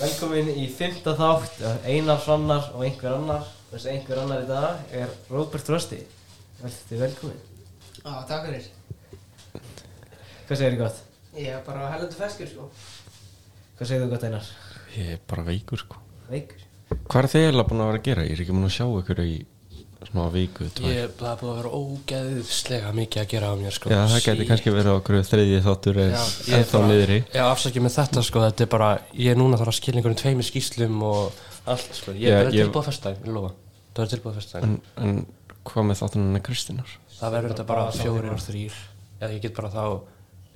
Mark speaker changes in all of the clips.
Speaker 1: Velkomin í fymta þátt, einar sannar og einhver annar Þessi einhver annar í dag er Robert Rösti Þetta er velkomin
Speaker 2: Já, takk fyrir.
Speaker 1: Hvað segir þið gott?
Speaker 2: Ég er bara helvöndu feskur, sko.
Speaker 1: Hvað segir þið gott einar?
Speaker 3: Ég er bara veikur sko
Speaker 1: Veikur
Speaker 3: Hvað er þið eiginlega búin að vera að gera? Ég er ekki búin að sjá ykkur í smá viku tvær.
Speaker 4: Ég það er búin að vera ógeðslega mikið að gera á mér sko
Speaker 3: Já, það
Speaker 4: Sí.
Speaker 3: gæti kannski verið okkur þriðji þáttur
Speaker 4: Já,
Speaker 3: eða
Speaker 4: ég er
Speaker 3: ennþá
Speaker 4: bara-
Speaker 3: niðri
Speaker 4: Já, afsakið með þetta sko, þetta er bara Ég er núna þarf að skilja einhvern tveimur skýslum og allt sko Ég
Speaker 3: Já,
Speaker 4: verður
Speaker 3: ég-
Speaker 4: tilbúið að fyrstæðin, ég lofa Það verður tilbúið að fyrstæðin
Speaker 3: en, en hvað með þáttunum hennar Kristínar?
Speaker 4: Það verður þetta bara fjórir og þrýr Eða ég get bara þá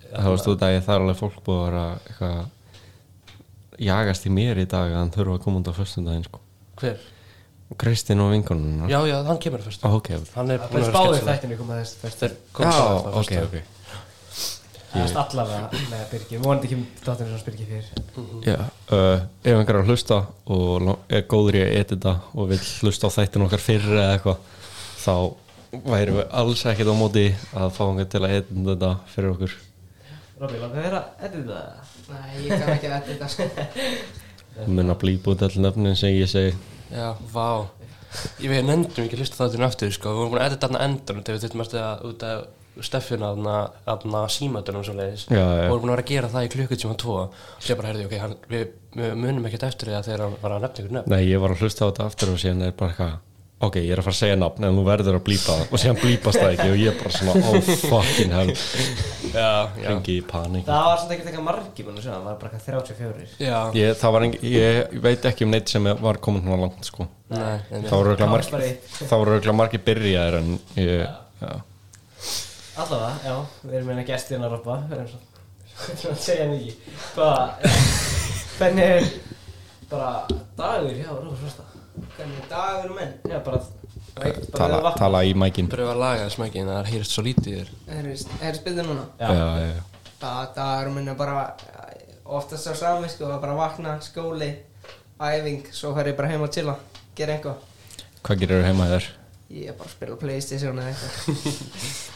Speaker 3: Það varst út að ég þar alveg fólk búið að vera eitthvað jagast í mér í dag að hann þurfa að koma út á föstundaginn sko
Speaker 4: Hver?
Speaker 3: Kristín og vinkonunum
Speaker 4: Já, já, hann kemur fyrst
Speaker 3: Ok, ok.
Speaker 4: Hann er búin
Speaker 1: Það er
Speaker 4: að vera
Speaker 1: spáðið
Speaker 4: sketsuna
Speaker 1: þættinu koma þess fyrst
Speaker 4: Þeir
Speaker 3: Já,
Speaker 4: komum saman á
Speaker 3: ok,
Speaker 4: föstudaginn.
Speaker 3: ok
Speaker 1: Það er allavega með Birgir, vonandi kemur þáttunum sem Birgir fyrir
Speaker 3: Já, uh, ef einhver er að hlusta og lo- er góður í að edita og vil hlusta á þættin okkar fyrir eða eitthvað þá værum við alls ekkert á móti að fá einhver til að edita þetta fyrir okkur
Speaker 1: Robby, langar þér að edita það?
Speaker 2: Nei, ég kann ekki að þetta, sko.
Speaker 3: og minna blípa út all nefnin sem ég segi
Speaker 4: Já, vá Ég veit, nefndum ekki að hlusta þáttinu aftur, sko Við vorum búin að edita þarna endan Þegar við þurftum eftir að út af Steffina þarna, þarna símatunum svo leiðis
Speaker 3: Já, já.
Speaker 4: vorum búin að vera að gera það í klukkutíma tvo og ég bara heyrði, ok, hann, við, við munum ekkert eftir því að þegar hann var að nefna ykkur nefn
Speaker 3: Nei, ég var að hlusta á þetta aftur og síðan er bara eitthvað ok, ég er að fara að segja nafn en þú verður að blípa það og síðan blípast það ekki og ég er bara svona oh fucking hell
Speaker 4: Já, já,
Speaker 3: fengi í panik
Speaker 1: Það var svolítið ekkert eitthvað margi mann og sjá, það var bara eitthvað 34
Speaker 4: já
Speaker 3: ég, það var engin, ég veit ekki um neitt sem var komin svona langt sko
Speaker 4: Nei, en,
Speaker 3: Það voru örugglega
Speaker 1: Klárast
Speaker 3: margir-
Speaker 1: bara í-
Speaker 3: það voru örugglega margir byrjaðir en ég, já.
Speaker 1: Allavega, já, við erum meina gestir hérna Robba Við erum svo- við erum að segja mikið Hvað, hvernig er bara dagur hjá Robert Rösta?
Speaker 2: Hvernig dagur menn?
Speaker 1: Já, bara
Speaker 3: tala, tala í mækin
Speaker 4: pröfa að laga þess mækin það heyrist svo lítið í þér
Speaker 2: Það er spilðið núna.
Speaker 3: já,
Speaker 1: Já,
Speaker 3: já, já.
Speaker 2: Það dagur menn er bara eh, oftast á sami, sko. Það er bara vakna, skóli, æfing, svo fer ég bara heim að chilla, gera eitthvað.
Speaker 3: hvað gerir þú heima þér?
Speaker 2: Ég er bara að spila Playstation eða eitthvað.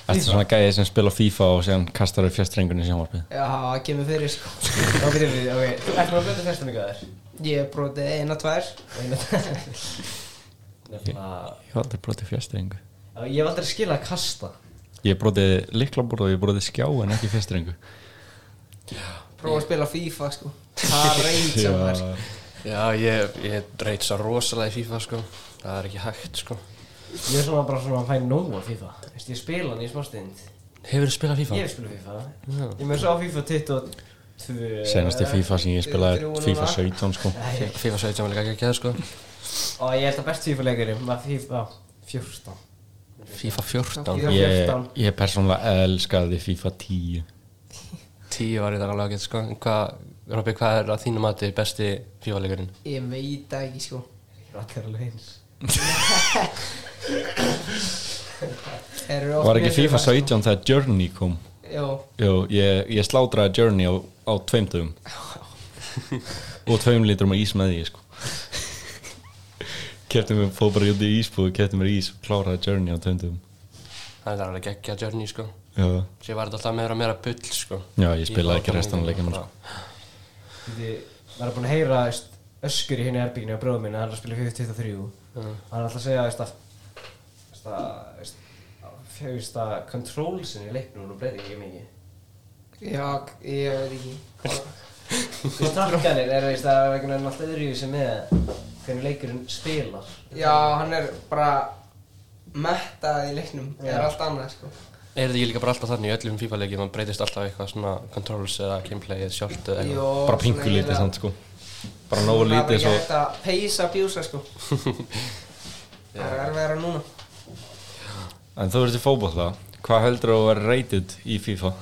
Speaker 3: Ertu svona gæði sem spila FIFA og síðan kastar upp fjastrengunni í sjónvarpið?
Speaker 2: Já, það kemur fyrir, sko.
Speaker 1: þá byrjum við, ok Þú ert nú að blöta festum ykkur þér
Speaker 2: Ég er brotið eina, tvær.
Speaker 1: Nefna,
Speaker 3: Ég hef aldrei brotið fjastrengu
Speaker 1: já, ég hef aldrei skilað að kasta
Speaker 3: Ég hef brotið liklabúr og ég hef brotið skjá en ekki fjastrengu
Speaker 2: Prófa að spila FIFA, sko. Það reynd sem það er, sko.
Speaker 4: Já, ég, ég reyt svo rosalega í FIFA, sko Það er ekki hægt, sko
Speaker 1: Ég er svona bara svona að fæ nóa FIFA Veist, ég spila hann í smástund
Speaker 4: Hefur þið spilað
Speaker 1: Ég
Speaker 4: FIFA?
Speaker 1: hef spilað FIFA Ég með svo á FIFA 22
Speaker 3: senast í FIFA sem ég spilaði
Speaker 2: Þrjú núna.
Speaker 3: FIFA 17 sko
Speaker 1: Nei,
Speaker 4: FIFA 17 var líka ekki að geða, sko
Speaker 1: Og ég held að best FIFA leikurinn var FIFA 14
Speaker 4: FIFA 14
Speaker 2: Já,
Speaker 3: ég,
Speaker 1: 14.
Speaker 3: ég persónulega elskaði FIFA 10
Speaker 4: Tíu var ég þar alveg að geta sko En Hvað, Robby, hvað er að þínu mati besti fífalegurinn?
Speaker 2: Ég veit það ekki, sko.
Speaker 1: Það er allir alveg eins
Speaker 2: Þeir eru oft
Speaker 3: var ekki
Speaker 2: mjög
Speaker 3: FIFA
Speaker 2: svipaðir,
Speaker 3: 17 þegar Journey kom
Speaker 2: sko. Jó.
Speaker 3: Jú, ég, ég slátraði Journey á, á tveim dögum og tveim litrum af ís með því sko. Kefti mér, fóð bara út í ísbúð kefti mér ís og kláraði Journey á tveim dögum
Speaker 4: Það er alveg geggja journey sko
Speaker 3: Já,
Speaker 4: Sér var þetta alltaf meira og meira bull sko
Speaker 3: Já, ég spilaði
Speaker 4: Í
Speaker 3: ekki restan af leikjunum,
Speaker 4: bara-
Speaker 1: Því maður er búinn að heyra veist, öskur í henni erbygginu á bróðum minni, hann er að spila 23
Speaker 4: sko.
Speaker 1: og hann er alltaf að segja veist, að, veist, að, veist, að, veist, að controlsin í leiknum og breyði ekki mikið.
Speaker 2: Já, ég veit ekki
Speaker 1: Þú takkanir er veist, að vegna enn alltaf öðru sem með hvernig leikurinn spilar.
Speaker 2: Já, hann er bara mettað í leiknum Það er allt annað, sko
Speaker 4: Er þetta ekki líka bara alltaf þannig í öllum fífalegjum Man breytist alltaf eitthvað svona controls eða gameplayið sjálft eða eitthvað
Speaker 2: Jó,
Speaker 3: bara pingu
Speaker 2: svona
Speaker 3: lítið
Speaker 2: eiginlega-
Speaker 3: samt sko bara nógu
Speaker 2: Það er bara
Speaker 3: lítið
Speaker 2: ekki
Speaker 3: svo
Speaker 2: hægt að peysa að bjúsa, sko Það er erfiðara núna
Speaker 3: En þú ert í fótbolla, hvað heldur þú að vera rated í FIFA?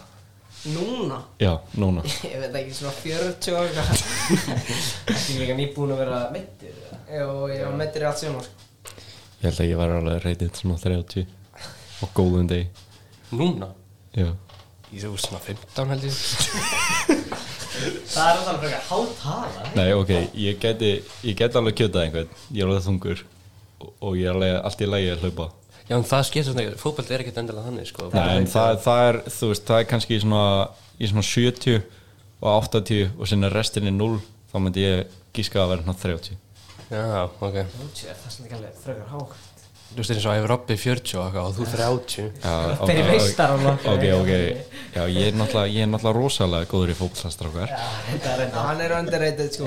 Speaker 2: Núna?
Speaker 3: Já, núna
Speaker 2: Ég veit ekki, svona 40 og eitthvað
Speaker 1: Því líka nýbúin að vera mittir. eða?
Speaker 2: Jó, ég var meittir í allt sumar, sko
Speaker 3: Ég held að ég var alveg rated svona 30 og góðum degi
Speaker 4: Núna?
Speaker 3: Já,
Speaker 4: Í þú svona 15 held ég
Speaker 1: Það er alltaf frekar hátala.
Speaker 3: Nei, ok, ég geti, ég geti alveg kjötað einhvern, ég er alveg þungur og- og ég er alveg allt í lægi að hlaupa.
Speaker 4: Já en það skiptir svona ekki Fótbolt er ekkert endilega þannig sko
Speaker 3: Nei, en það, það er, þú veist, það er kannski í svona, í svona 70 og 80 og sinna restin er 0 þá myndi ég gíska að vera hann 30
Speaker 4: Já, ok
Speaker 1: Lútsi, er það sem ekki alveg frekar hátt
Speaker 4: Þú veist eins og æfir oppi 40 og eitthvað og þú 30
Speaker 3: Já, ok,
Speaker 1: Þeir
Speaker 3: ok.
Speaker 1: veistar hann
Speaker 3: ah, Ok, ok, já, ég er náttúrulega, ég er náttúrulega rosalega góður í fókbaltastrákar
Speaker 1: Þetta er reynda
Speaker 2: Hann er underrated sko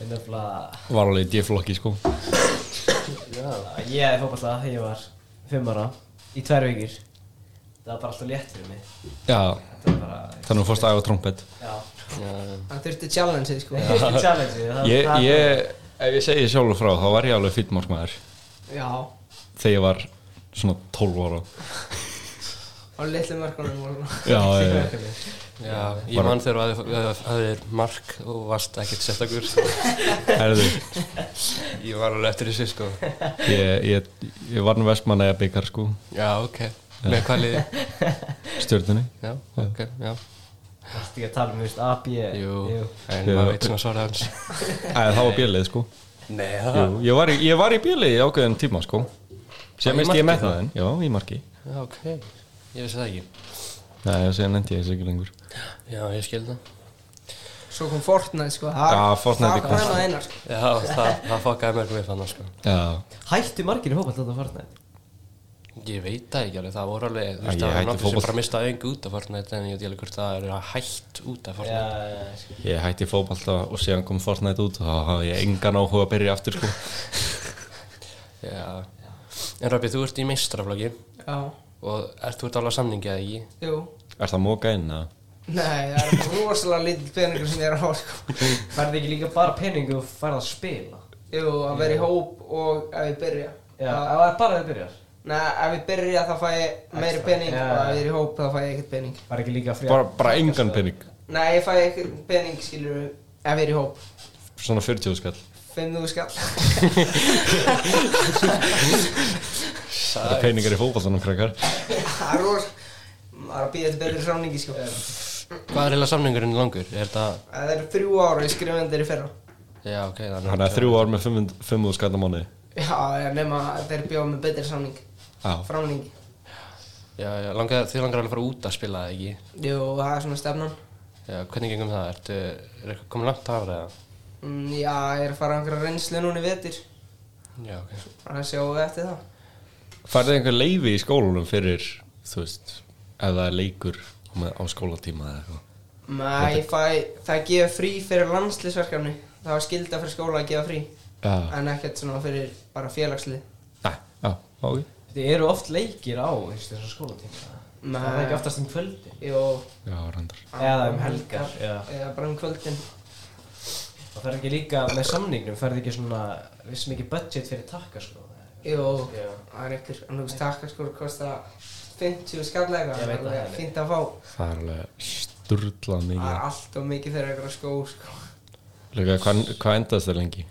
Speaker 1: En nefnilega
Speaker 3: Var alveg í D-flokki sko
Speaker 1: Ég er fókbalta þegar ég var fimm ára Í tvær vikir Það var bara alltaf létt fyrir mig
Speaker 3: Já,
Speaker 1: Þetta var bara
Speaker 3: þannig að þú fórst að æfa trompet
Speaker 1: Já
Speaker 4: Já,
Speaker 2: Hann þurfti challenge sko
Speaker 1: Challenge það-
Speaker 3: Ég,
Speaker 1: það-
Speaker 3: ég, ef ég segi sjálfur frá, þá var ég alveg fýtt markmaður
Speaker 2: Já
Speaker 3: Þegar ég var svona 12 ára
Speaker 2: Á litlu mörkunum voru
Speaker 3: Já, já, já
Speaker 4: já ég mann þegar þú hafðir- hafðir mark og varst ekkert sérstakur sko.
Speaker 3: Herðu,
Speaker 4: Ég var alveg eftir þessu sko
Speaker 3: ég, ég, ég var nú vestmannaði að byggar sko,
Speaker 4: Já, ok Með hvað liði?
Speaker 3: stjörnunni
Speaker 4: Já, ok, já
Speaker 1: Það er ekki að tala um, þú veist, AB
Speaker 4: Jú,
Speaker 1: Jú.
Speaker 4: en maður veit svona svara hans
Speaker 3: Æ, það var bjölið sko
Speaker 4: Nei,
Speaker 3: Jú, ég var í, ég var í bjölið í ákveðin tíma sko
Speaker 4: Í
Speaker 3: Sem misti ég
Speaker 4: marki
Speaker 3: með það en, já, í marki
Speaker 4: Já, ok Ég vissi það ekki
Speaker 3: Nei, það sé nefndi ég þessu ekki lengur
Speaker 4: Já, ég skil það
Speaker 2: Svo kom Fortnite sko
Speaker 3: Já, Fortnite er
Speaker 2: er
Speaker 3: kúl.
Speaker 2: Það var einar sko
Speaker 4: Já, það, það fokkaði mörgum við fann sko
Speaker 3: Já,
Speaker 1: Hættu margir í fókbalta þetta farnætt
Speaker 4: Ég veit það ekki alveg, það voru alveg Þú
Speaker 3: Æ, ég
Speaker 4: veist, það
Speaker 3: hætti
Speaker 4: var náttúrulega
Speaker 3: fótboll-
Speaker 4: sem bara mista öng út af Fortnite En ég veit ekki alveg hvort það er að hætt út af Fortnite
Speaker 1: Já, sko
Speaker 3: ég hætti fótballta og síðan kom Fortnite út og þá hafði ég engan áhuga að byrja aftur sko
Speaker 4: Já, En Robby, þú ert í meistraflokki
Speaker 2: Já
Speaker 4: Og ert þú ert alveg á samningi eða ekki?
Speaker 2: Jú
Speaker 3: Er það móka inn að?
Speaker 2: Nei, það er rosalega lítill peningur sem ég er að fá sko
Speaker 1: Færði ekki líka bara peningu og færði að spila
Speaker 2: Jú, að vera í hóp og ef ég byrja
Speaker 1: Já,
Speaker 2: Þá-
Speaker 1: það er bara að byrjar
Speaker 2: Nei, ef ég byrja þá fæ ég meiri
Speaker 1: Extra.
Speaker 2: pening
Speaker 1: Já,
Speaker 2: og
Speaker 1: já.
Speaker 2: ef ég er í hóp þá fæ ég ekkert pening
Speaker 1: Var ekki líka frí
Speaker 3: Bara, bara engan penning,
Speaker 2: Nei, ég fæ ekkert pening, skilur ef ég er í hóp
Speaker 3: svona 40 skall
Speaker 2: Fimm þú skall
Speaker 3: Það er penningar í fótballtanum krakkar
Speaker 2: Það er ros Það er að býða þetta betri sáningi sko
Speaker 4: Hvað er eiginlega samningurinn langur? Er það,
Speaker 2: Það eru þrjú ára, ég skrifa undir í fyrra
Speaker 4: já ok þannig
Speaker 3: Þannig að þrjú ár með 500 skall á mánuði
Speaker 2: Já, ég nema að þeir bjóða með betri sáning
Speaker 3: Já,
Speaker 2: Framning
Speaker 4: Já, já, langar, þið langar alveg að fara út að spila eða ekki?
Speaker 2: Jú, það er svona stefnan
Speaker 4: Já, hvernig gengum það? Ertu, er eitthvað komið langt af það?
Speaker 2: Mm, Já, ég er að fara á einhverja reynslu núna í vetur
Speaker 4: Já, ok.
Speaker 2: Þannig að sjáum við eftir það
Speaker 3: færði einhver leifi í skólanum fyrir, þú veist ef það er leikur með, á skólatíma eða eitthvað
Speaker 2: Nei, ég fæ, það gefa frí fyrir landslisverkefni Það var skilda fyrir skóla að gefa frí
Speaker 3: Já,
Speaker 2: En ekkert svona fyrir bara félagslið
Speaker 3: Nei, já, ok
Speaker 1: Þið eru oft leikir á þú veist, þessar skólatíma
Speaker 2: Nei.
Speaker 1: Það er ekki oftast um kvöldi
Speaker 2: Jó,
Speaker 3: Já, reyndar
Speaker 1: Eða um helgar Já.
Speaker 2: eða bara um kvöldin
Speaker 1: Og það er ekki líka með samningnum Það er ekki svona Vissum ekki budget fyrir takka sko
Speaker 2: Jó,
Speaker 1: Já.
Speaker 2: það er ykkur En þú veist, takka sko, kosta 50 skall eitthvað
Speaker 1: Ég veit það,
Speaker 2: alveg
Speaker 1: ég veit.
Speaker 2: Fínt að fá
Speaker 3: Það er alveg
Speaker 2: Það er
Speaker 3: sturlað mikið
Speaker 2: allt og mikið fyrir eitthvað skó sko.
Speaker 3: Líka, hvað hva endast það lengi?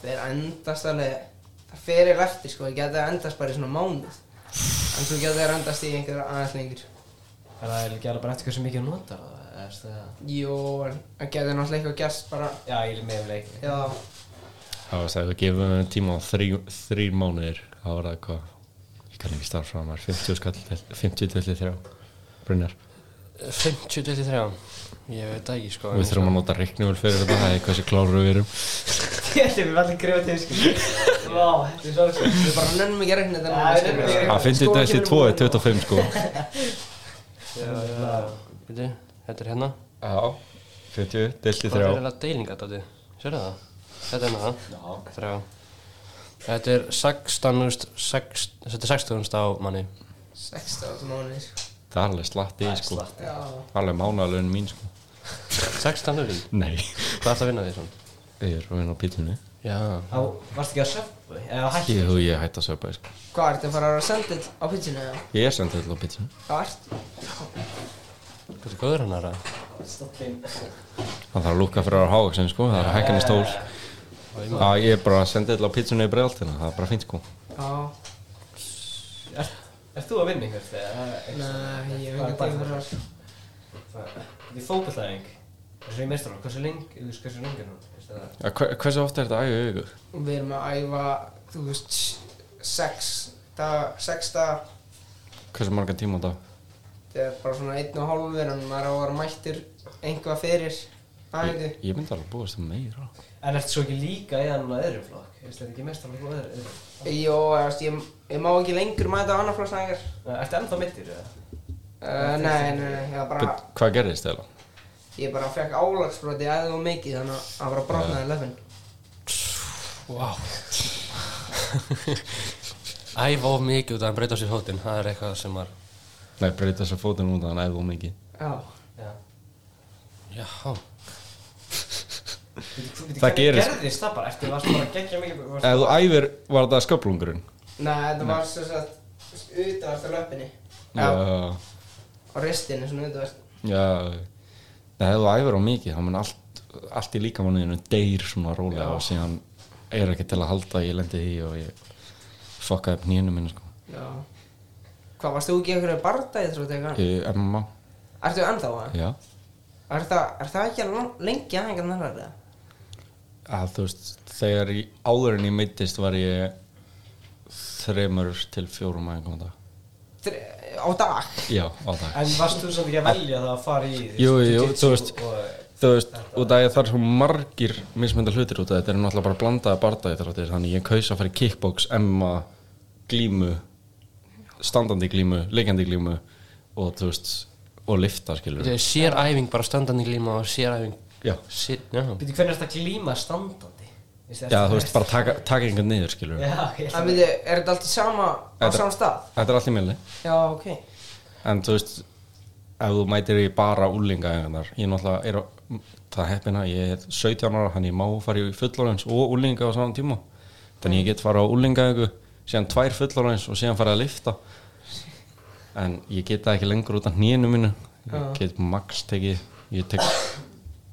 Speaker 2: Þeir endast alveg Það fyrir eftir sko, ég geti endast bara í svona mánuð En svo geti þeir endast í einhverja aðeins lengur
Speaker 1: Það er ekki alveg bara eftir hversu mikið þú notar það, eða, veist, eða-
Speaker 2: Jó, en það geti náttúrulega eitthvað gæst bara
Speaker 1: Já, ég er með um leik
Speaker 2: Já,
Speaker 3: Það var það, við gefum þeim tíma á þrý- þrír mánuðir Það var það hvað Ég kann ekki starf frá maður 50 skall til- 50 til 3 Brynjar
Speaker 4: 50 til 3 Ég veit það ekki, sko.
Speaker 3: Við þurfum að nota reiknumul fyrir þetta Það er hversu kláru við erum
Speaker 1: Þetta er allir greiða til sko Vá, þetta er svo sko
Speaker 2: við bara nennum ekki að reikna þetta
Speaker 1: Já,
Speaker 2: núna,
Speaker 1: við nennum ekki
Speaker 2: skilur við.
Speaker 1: að reikna.
Speaker 3: Það finnst þetta þessi 2 er 25 sko
Speaker 4: Býtu, þetta er hérna.
Speaker 3: Já 50 til
Speaker 4: Hvað er
Speaker 3: 3
Speaker 4: eiginlega deilinga þetta? Sérðu það? Þetta er hérna það? Já. Þrjá. Þetta er 16, 16, þetta er 16 á manni.
Speaker 2: 16 mánuði sko.
Speaker 3: Það er alveg slatt í sko
Speaker 1: Slatt.
Speaker 2: Já,
Speaker 3: Alveg mánaðalögin mín sko
Speaker 4: 16 hugin.
Speaker 3: Nei
Speaker 4: Hvað ert að vinna því svona?
Speaker 3: Ég er að vinna á pílunni
Speaker 4: Já.
Speaker 1: Á, varstu ekki að söpbu? Eða hætti?
Speaker 3: Ég hug ég að hætta að söpa sko
Speaker 2: hvað ertu að fara að vera sendið á pizzinu eða?
Speaker 3: Ég er samt alltaf á pílunni
Speaker 2: Hvað ertu?
Speaker 4: Hvað er góður hann aðra?
Speaker 1: Stoppin
Speaker 3: Það þarf að lúka fyrir að háa sko, það er að hækka henni stól Já, ég er bara að senda eitthvað á pítsunni í bregðaltina, það er bara fínt sko
Speaker 2: Já,
Speaker 1: Eh, Ert þú að vinna einhvert? eða-
Speaker 2: nei, ég hef
Speaker 1: Það er
Speaker 2: ekki
Speaker 1: bara
Speaker 2: tíma fyrir það sko.
Speaker 1: Því fókbaltæðing Þessu í meistarál, hversu lengi, þú veist hversu lengi er hún? Veist það?
Speaker 3: ja, hver, Hversu ofta er þetta ægu auðvitað?
Speaker 2: Við erum að æfa, þú veist, 6 daga, 6 daga
Speaker 3: Hversu marga tíma á dag?
Speaker 2: Það er bara svona einn og hálfur en maður á að vera mættur einhvað fyrir Æ,
Speaker 3: Ég, ég myndi alveg að búast um meira
Speaker 1: En ertu svo ekki líka í annan öðrum flokk? Ertu þetta ekki mest alveg á öðrum? öðrum?
Speaker 2: Jó, ég, veist, ég, ég má ekki lengur mæta á annarflóðsæðingar
Speaker 1: Nei, Ertu ennþá mittir eða?
Speaker 2: uh, Nei, nei, nei, ég bara
Speaker 3: But, Hvað gerðist eða?
Speaker 2: Ég bara fekk álagsbroti aðeins og mikið þannig að það bara brotnaði löfin
Speaker 4: Vá Æfa of mikið út að hann breyta sér fótinn Það er eitthvað sem var
Speaker 3: Nei, breyta þess að fótinn út að hann æfði of mikið
Speaker 2: Já,
Speaker 1: Já.
Speaker 4: Já,
Speaker 1: Bíddu, bíddu,
Speaker 3: Það
Speaker 1: hvernig
Speaker 3: gerist. Eh.
Speaker 1: Gerðist það bara? Ertu varst bara að gegja mikið? varstu
Speaker 3: Ef þú
Speaker 1: bara-
Speaker 3: æfir var þetta sköplungurinn
Speaker 2: nei, þetta var svo sagt utanvert á löppinni Já.
Speaker 3: Já
Speaker 2: og ristinni svona utanvert
Speaker 3: Já Nei, ef þú æfir of mikið þá mun allt, allt í líkamanniðinu deyr svona rólega og síðan er ekki til að halda ég lendi í því og ég fokkaði upp nýjunum minni sko
Speaker 2: Já Hvað, varst þú ekki í einhverju bardagi þrjótt eitthvað?
Speaker 3: Í MMA
Speaker 2: Ertu ennþá það?
Speaker 3: Já
Speaker 2: Er það, er það ekki alveg lang- lengi aðhengar nærra það?
Speaker 3: að þú veist, þegar ég, áður en ég meittist var ég þreymur til fjórum aðeins á dag
Speaker 2: Á dag?
Speaker 3: já, á dag
Speaker 1: En varst þú samt ekki að velja það að fara í því? sko,
Speaker 3: Jú, jú,
Speaker 1: jiu-jitsu
Speaker 3: þú veist.
Speaker 1: og-
Speaker 3: þú veist, út af því að það er svo margir mismynda hlutir út af því, þetta er náttúrulega bara blandaði bardaði þráttir, þannig ég kaus að fara í kickbox emma, glímu standandi glímu, liggjandi glímu og þú veist og lifta skilur
Speaker 4: þetta er sér æfing bara standandi glíma og sér æfing
Speaker 3: já,
Speaker 4: sér, Já,
Speaker 1: Býtu, hvernig ertu að glíma standandi? Veistu,
Speaker 3: já,
Speaker 1: ertu-
Speaker 3: þú veist, bara taka, taka einhvern niður skilur
Speaker 1: Já, ok, ég
Speaker 2: Það
Speaker 1: ætla-
Speaker 2: myndi, er þetta allt í sama á
Speaker 3: Þetta-
Speaker 2: sama stað?
Speaker 3: þetta er allt í milli
Speaker 2: Já, ok
Speaker 3: En þú veist, ef þú mætir í bara úlingaæðingarnar, ég náttúrulega er á- það heppina, ég er 17 ára, þannig ég má fara í fullorðins og úlinga á saman tíma. Þannig ég get fara á úlingaæðingu, síðan tvær fullorðins og síðan fara að lifta. En ég get það ekki lengur út af hnýinu mínu, ég get max tekið, ég tek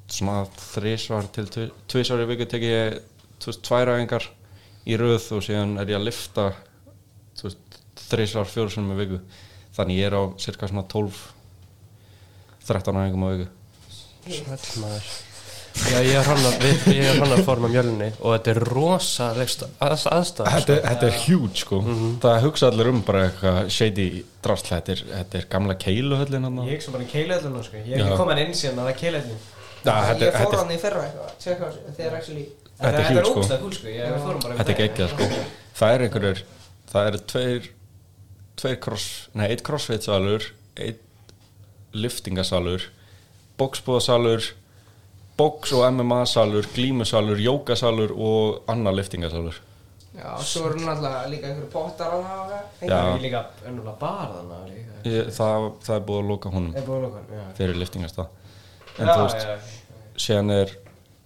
Speaker 3: svona þrísvar til tvísvar í viku tekið ég þú veist, tvær æfingar í röð og síðan er ég að lifta þú veist, þrísvar fjóru sem í viku þannig ég er á cirka svona 12 13 æfingum á viku
Speaker 4: Sæll maður Já, ég er hannar, við, ég er hannar form á mjölunni og þetta er rosalegst að, aðstæð
Speaker 3: þetta, þetta er huge sko það hugsa allir um bara eitthvað shady drasl þetta er, þetta er gamla keiluhöllin hann
Speaker 1: Ég hugsa bara um keilöðlun sko. Ég hef
Speaker 3: Já.
Speaker 1: ekki komið inn síðan að það er keilöðlun
Speaker 3: þetta,
Speaker 2: Ég
Speaker 3: er-
Speaker 2: fór
Speaker 3: þetta,
Speaker 2: hann í fyrra eitthvað, tjekka á þessu, þegar actually
Speaker 3: Þetta er huge, sko.
Speaker 1: ógustlega cool sko. Ég, við fórum bara um
Speaker 3: er- þetta er
Speaker 1: daginn.
Speaker 3: geggjað sko það er einhverjur það eru tveir tveir cross, nei, eitt crossfit-salur eitt liftingasalur bóksbúðasalur bóks- og MMA-salur glímusalur, jókasalur og annar liftingasalur
Speaker 2: Já, svo eru náttúrulega líka einhverju pottar á það
Speaker 1: Það
Speaker 3: Já.
Speaker 1: er ekki líka önnulega bara þannig að líka
Speaker 3: Ég- það, það er búið að loka honum
Speaker 1: Er búin okkur, já
Speaker 3: fyrir liftingastað en
Speaker 1: Já,
Speaker 3: þú veist,
Speaker 1: já, já.
Speaker 3: síðan er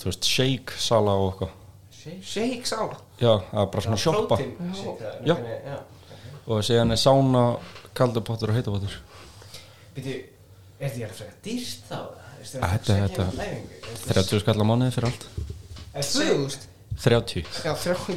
Speaker 3: þú veist, shake sala og eitthvað
Speaker 1: Shake.
Speaker 2: Shake sála
Speaker 3: já, það er bara svona sjoppa
Speaker 1: Protein shake, það er
Speaker 3: Já.
Speaker 1: hvernig- já.
Speaker 3: og síðan er sána, kaldupottur og heitupottur
Speaker 1: Býtu, er þetta ekki frekar dýrt þá? Veistu,
Speaker 3: Þetta- þetta- 30 skallar mánuði fyrir allt
Speaker 2: Svöðust
Speaker 3: 30
Speaker 2: Já, þrjá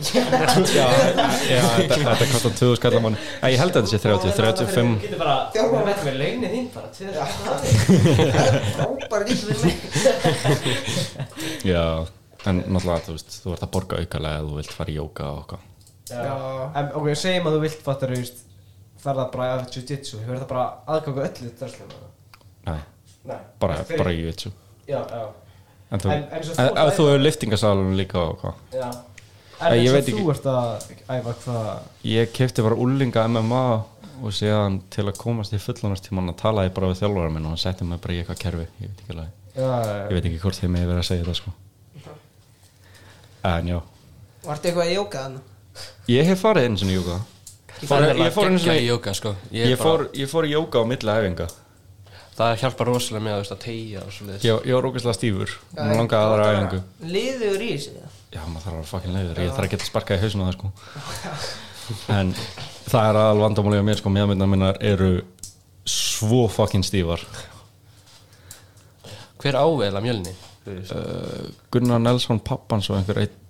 Speaker 3: já, þetta, þetta kostar 20 skallar mánuði Nei, ég held að þetta sé 30, 35
Speaker 1: Þú getur bara,
Speaker 2: Já.
Speaker 1: það veitum við launin þín bara 2000.
Speaker 2: Frábæri líka við mig
Speaker 3: já, en náttúrulega þú veist þú ert að borga aukalega ef þú vilt fara í jóka og eitthvað
Speaker 2: Já.
Speaker 1: En, ok, segjum að þú vilt fattar auðvist ferða bara að jiu-jitsu, hefur það bara aðgangu öllu dröslum
Speaker 3: nei,
Speaker 1: Nei,
Speaker 3: bara,
Speaker 1: Fyrir-
Speaker 3: bara í vitsu
Speaker 1: Já, já,
Speaker 3: en þú,
Speaker 1: En- en svo þú
Speaker 3: en,
Speaker 1: ert að-
Speaker 3: ef þú hefur liftingasalunum líka og eitthvað
Speaker 1: já
Speaker 3: Nei,
Speaker 1: En
Speaker 3: ég
Speaker 1: eins
Speaker 3: veit
Speaker 1: og þú ert að æfa hvað
Speaker 3: Ég kefti bara úlinga MMA og síðan til að komast í fullanastíman að tala ég bara við þjálfara minn og hann setti mig bara í eitthvað kerfi ég veit ekki, alveg,
Speaker 1: Já, já,
Speaker 3: ég veit ekki hvort þeim hefur verið að segja þetta sko. en já
Speaker 2: Vartu eitthvað í jóka þannig?
Speaker 3: ég hef farið eins og jóka fór, ég, fór einu
Speaker 4: geggjað í
Speaker 3: sinni,
Speaker 4: jóka, sko
Speaker 3: ég,
Speaker 4: bara-
Speaker 3: fór, ég fór í jóka á milli æfinga
Speaker 4: Það hjálpar rosalega með að, veist, að tegja og svo
Speaker 3: ég, ég var ógeðslega stífur og langaði aðra æfingu
Speaker 2: Liður í þessu eða?
Speaker 3: já maður þarf að vera fucking leiður ég þarf að geta sparkað í hausinu það sko en það er aðal vandamálið á mér sko meðmyndar minnar eru svo fucking stífar
Speaker 4: Hver áveðla mjölni?
Speaker 3: uh, Gunnar Nelson pappans og einhver einn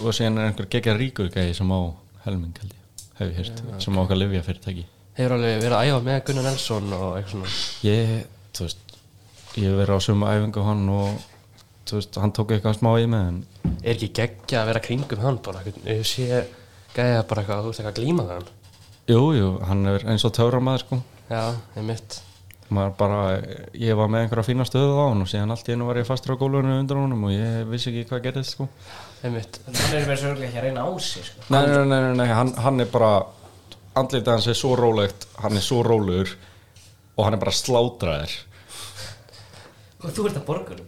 Speaker 3: og síðan er einhver gegja ríkur gæði sem á helming held ég, hef ég hýrt sem á okkar lifja fyrirtæki
Speaker 4: Hefur alveg verið að æfa með Gunnar Nelson og eitthvað svona
Speaker 3: ég, þú veist ég hef verið á sömu æfingu á hann og þú veist, hann tók eitthvað smá í mig en
Speaker 4: Er ekki geggja að vera kringum hann bara einhvern- Ég sé gæja bara eitthvað, þú veist eitthvað glíma þann
Speaker 3: jú, jú, hann er eins og töframæður sko
Speaker 4: Já, ég mitt
Speaker 3: maður bara, ég var með einhverja fína stöðu á hann og síðan allt í einu var ég fastur á gólfinu undir honum og ég vissi ekki hvað gerðist sko.
Speaker 4: einmitt
Speaker 1: Þannig erum við svo örgulega ekki að reyna á sig sko.
Speaker 3: nei, nei, nei, nei, nei hann, hann er bara andlitið hans er svo rólegt hann er svo rólegur og hann er bara slátraður
Speaker 1: Og þú ert að borgunum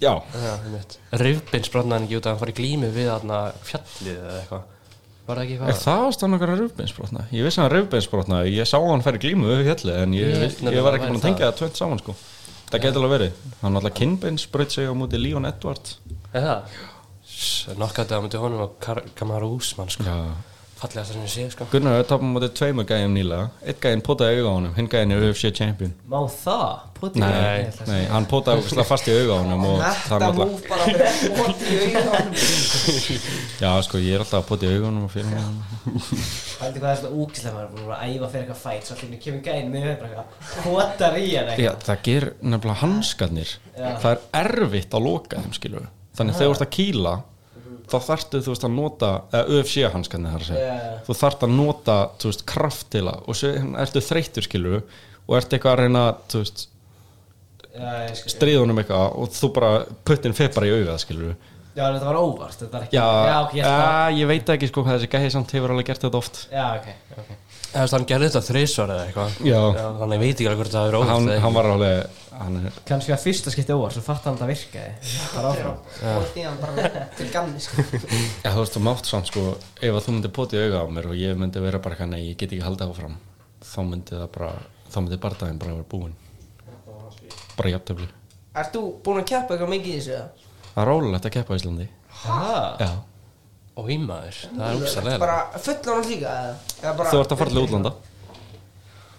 Speaker 3: já,
Speaker 4: Já, einmitt Rifbins brotnaði hann ekki út að hann fari í glímu við þarna fjallið eða eitthvað Var það ekki
Speaker 3: er
Speaker 4: eitthvað?
Speaker 3: það ástæðan okkar að röfbeinsbrotna ég vissi að hann röfbeinsbrotna, ég sá hann færi glímu við hjalli en ég,
Speaker 4: Ég
Speaker 3: ég,
Speaker 4: veit nefnilega
Speaker 3: var ekki
Speaker 4: það
Speaker 3: búin að
Speaker 4: væri
Speaker 3: tengja það tvönt saman sko. það getur alveg verið, hann alltaf kinnbeinsbröð sig á múti Leon Edwards
Speaker 4: Er það? Nokkaði á myndi honum og Kar- Kamaru Usman sko
Speaker 3: já,
Speaker 4: Fallegast sem ég sé sko
Speaker 3: Gunnar við tapum á mótið tveimur gæjum nýlega Eitt gæjum potaði auga á honum, hinn gæjum er UFC champion
Speaker 1: Má það? Poti
Speaker 3: Nei, nei, hann potaði okkur fast í auga á honum og það
Speaker 2: Þetta
Speaker 3: er alltaf
Speaker 2: múf bara með móti í augunum
Speaker 3: Já, sko, ég er alltaf að pota í auga á honum og fyrir hann
Speaker 1: Haldi hvað það er svona úkislega maður er búinn að vera að æfa fyrir eitthvað fæt Svo allir kemur gæðin með þeim bara eitthvað Hótar í hann
Speaker 3: Já, það ger nefnilega hanskarnir Það er erfitt að loka þeim, skilur við. Þannig þegar þú ert að kýla þá þarftu, þú veist, að nota eða UFC hanskarnir þar að segja
Speaker 1: Já.
Speaker 3: þú þarft að nota, þú veist, kraftila og svo hérna, ertu þreyttur, skilur við, og ertu eitthvað að reyna, þú veist,
Speaker 1: Já, ég skil.
Speaker 3: stríðunum eitthvað og þú bara puttin feð bara í auga, skilur við.
Speaker 1: Já, þetta var óvart Þetta var ekki
Speaker 3: Já,
Speaker 1: já ok, ég ætla
Speaker 3: eh, ég veit ekki sko hvað þessi gæði samt hefur alveg gert þetta oft
Speaker 1: Já, ok, ok
Speaker 4: Eða þú veist, hann gerði þetta þreysvar eða eitthvað
Speaker 3: Já.
Speaker 4: Þannig ég veit ekki alveg hvort það er óvægt
Speaker 3: hann,
Speaker 4: eða
Speaker 3: hann var alveg hann er,
Speaker 1: Kanski að fyrsta skipti óvart Svo fatt hann að það virkaði Bara áfram
Speaker 2: Móti í hann bara til gamni sko
Speaker 3: ja, þú veist þú mátt samt sko ef að þú myndir potið auga á mér og ég myndi vera bara hann nei, ég get ekki haldið áfram þá myndi það bara, þá myndi bardaginn bara vera búinn bara jafntöfli
Speaker 2: Ert þú búin að keppa eitthvað mikið í þessu eða?
Speaker 3: það er rólulegt að keppa á Íslandi
Speaker 1: Ha?
Speaker 3: Já.
Speaker 4: Og ímaður, það er ógstæðlega
Speaker 2: Bara fullan líka eða? Eða bara-
Speaker 3: þú ert að fara til útlanda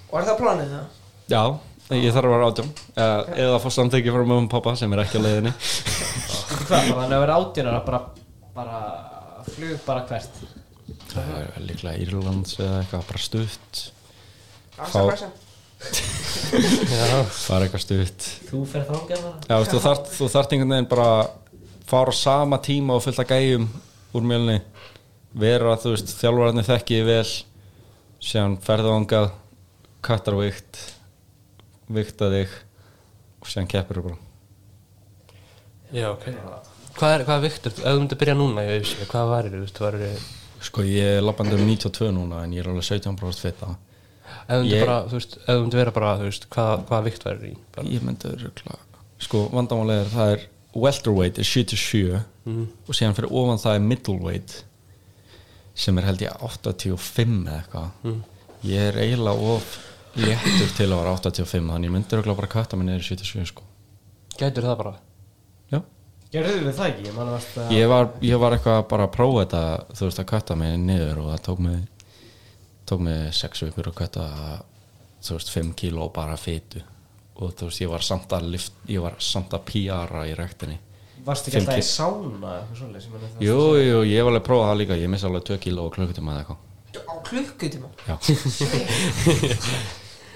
Speaker 2: Og er það planið það?
Speaker 3: Já, ég þarf að vera átján Eh, eða að fá samtæki frá mögum pappa sem er ekki á leiðinni
Speaker 1: Veitu hvað, bara hann hefur verið átjónara bara, bara flug bara hvert
Speaker 3: það er líklega Írlands eða eitthvað bara stutt Fá-
Speaker 2: Afsakvæsa
Speaker 3: það er eitthvað stutt
Speaker 1: Þú fer þangað bara
Speaker 3: Já, veist, þú, þart, þú þart einhvern veginn bara fara á sama tíma og fullt að gæjum úr mjölni vera, þú veist, þjálfararnir þekki þig vel síðan ferðu ángað kattar vikt vikta þig og síðan keppir þú bara
Speaker 4: Já, ok Hvað er, hvað er viktur, ef þú myndir byrja núna í auðvísi, hvað varir þú, veist, varir þú
Speaker 3: Sko, ég er lappandi um 92 núna en ég er alveg 17% fitta
Speaker 4: Ef þú myndir
Speaker 3: Ég-
Speaker 4: bara, þú veist, ef þú myndir vera bara, þú veist, hvað, hvað vikt varir í bara.
Speaker 3: Ég myndi örugglega Sko, vandamálega er það er welterweight er 77 og síðan fyrir ofan það er middleweight sem er held ég 85 eða eitthvað Ég er eiginlega of léttur til að vera 85 þannig ég myndi örugglega bara kvæta minni er 77 sko
Speaker 4: Gætur það bara
Speaker 3: Já
Speaker 1: Gerðu við það ekki, ég manna varst að
Speaker 3: Ég var, ég var eitthvað bara að prófa þetta þú veist að kvæta minni niður og það tók mig tók mig 6 vikur að kvæta þú veist 5 kíló bara fytu og þú veist ég var samt að lift, ég var samt að píara í rektinni
Speaker 1: Varst ekki alltaf
Speaker 3: Fimm
Speaker 1: í sána eitthvað svoleiðis, ég meina það-
Speaker 3: Jú, jú, ég hef alveg prófað það líka Ég missa alveg 2 kíló og klukkutíma eða eitthvað
Speaker 2: Á klukkutíma
Speaker 3: Já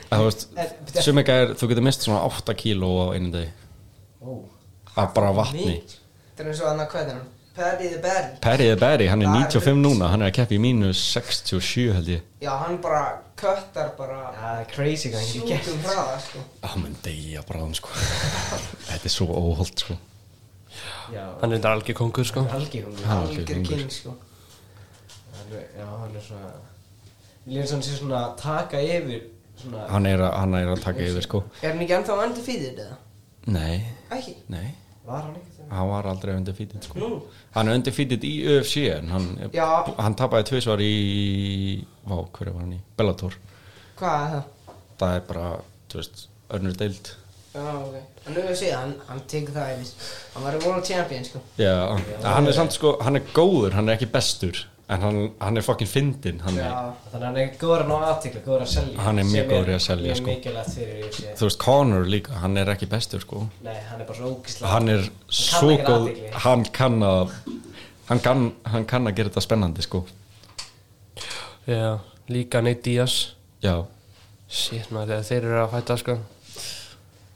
Speaker 3: Það veist, sumir gæðir Þú getur mist svona 8 kíló á einu degi
Speaker 1: Ó.
Speaker 3: Af bara vatni
Speaker 2: Þetta er eins og annað hvað er hann? Perry the Berry
Speaker 3: Perriði Berri, hann er 95 núna Hann er að keppa í mínus 67 held ég
Speaker 2: Já, hann bara köttar bara
Speaker 1: Já, það er crazy hvað hann getur gert
Speaker 2: sjúkum hraða sko
Speaker 3: Það mun deyja bráðum sko Þetta er svo óholt sko
Speaker 1: Já,
Speaker 4: Hann er þetta algjör kongur, sko
Speaker 1: algjörungur Já,
Speaker 3: Ha. Já, ok,
Speaker 2: Algjör
Speaker 3: gengur.
Speaker 2: kyn sko
Speaker 1: hann er svona Mér líður eins og hann sé svona að taka yfir svona
Speaker 3: Hann er, að- hann er að taka yfir sko
Speaker 2: Er hann ekki ennþá undir fýðir eða?
Speaker 3: Nei,
Speaker 2: Ekki
Speaker 3: nei
Speaker 1: Var hann eitthvað
Speaker 3: Hann var aldrei undir fítið sko Hann er undir fítið í UFC En hann,
Speaker 2: Já.
Speaker 3: hann tapaði tvisvar í Vá, hverju var hann í? Bellator
Speaker 2: Hvað er það?
Speaker 3: það er bara, þú veist, önnur deild
Speaker 2: Já, ok En nú er að segja, hann, hann tekur það yfir Hann var í World Champion sko
Speaker 3: já, hann er samt sko, hann er góður hann er ekki bestur, en hann, hann er fokkin fyndin, hann er,
Speaker 2: Já
Speaker 1: Þannig að hann er góður að ná aðtikla, góður að selja
Speaker 3: Hann er mjög
Speaker 1: sem
Speaker 3: góður í að selja, sko.
Speaker 1: Mjög mikilvægt fyrir yfir sér
Speaker 3: þú veist, Connor líka hann er ekki bestur sko,
Speaker 1: Nei, hann er bara svo ógislega
Speaker 3: hann er svo
Speaker 1: ekki
Speaker 3: góð,
Speaker 1: athygli.
Speaker 3: hann kann að hann kann, hann kann að gera þetta spennandi sko,
Speaker 4: Já, líka Nate Diaz
Speaker 3: já
Speaker 4: Shit, maður, þegar þeir eru að fæta, sko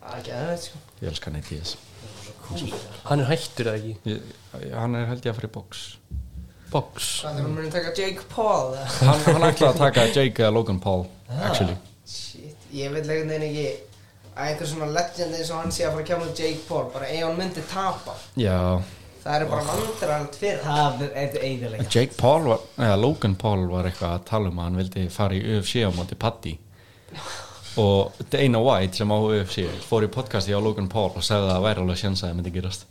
Speaker 2: Það er ekki aðeins sko
Speaker 3: ég elska hann eitt í þess
Speaker 4: Hann er hættur eða ekki
Speaker 3: ég, hann er held ég að fara í box
Speaker 4: Box
Speaker 2: Hvað er hann muni taka Jake Paul eða?
Speaker 3: hann,
Speaker 1: Ah.
Speaker 3: hann ætlaði að taka Jake eða Logan Paul actually,
Speaker 2: Shit, ég vil legin þeim ekki að einhver svona legend eins og hann sé að fara að kemja Jake Paul bara ef hann myndi tapa
Speaker 3: Já,
Speaker 2: það er bara vandrarand fyrir það
Speaker 1: Það er eitthvað eiginlega
Speaker 3: Jake Paul var, eða Logan Paul var eitthvað að tala um að hann vildi fara í UFC á móti Paddy og Dana White sem á UFC fór í podcasti á Logan Paul og sagði að það væri alveg sjans að það myndi gerast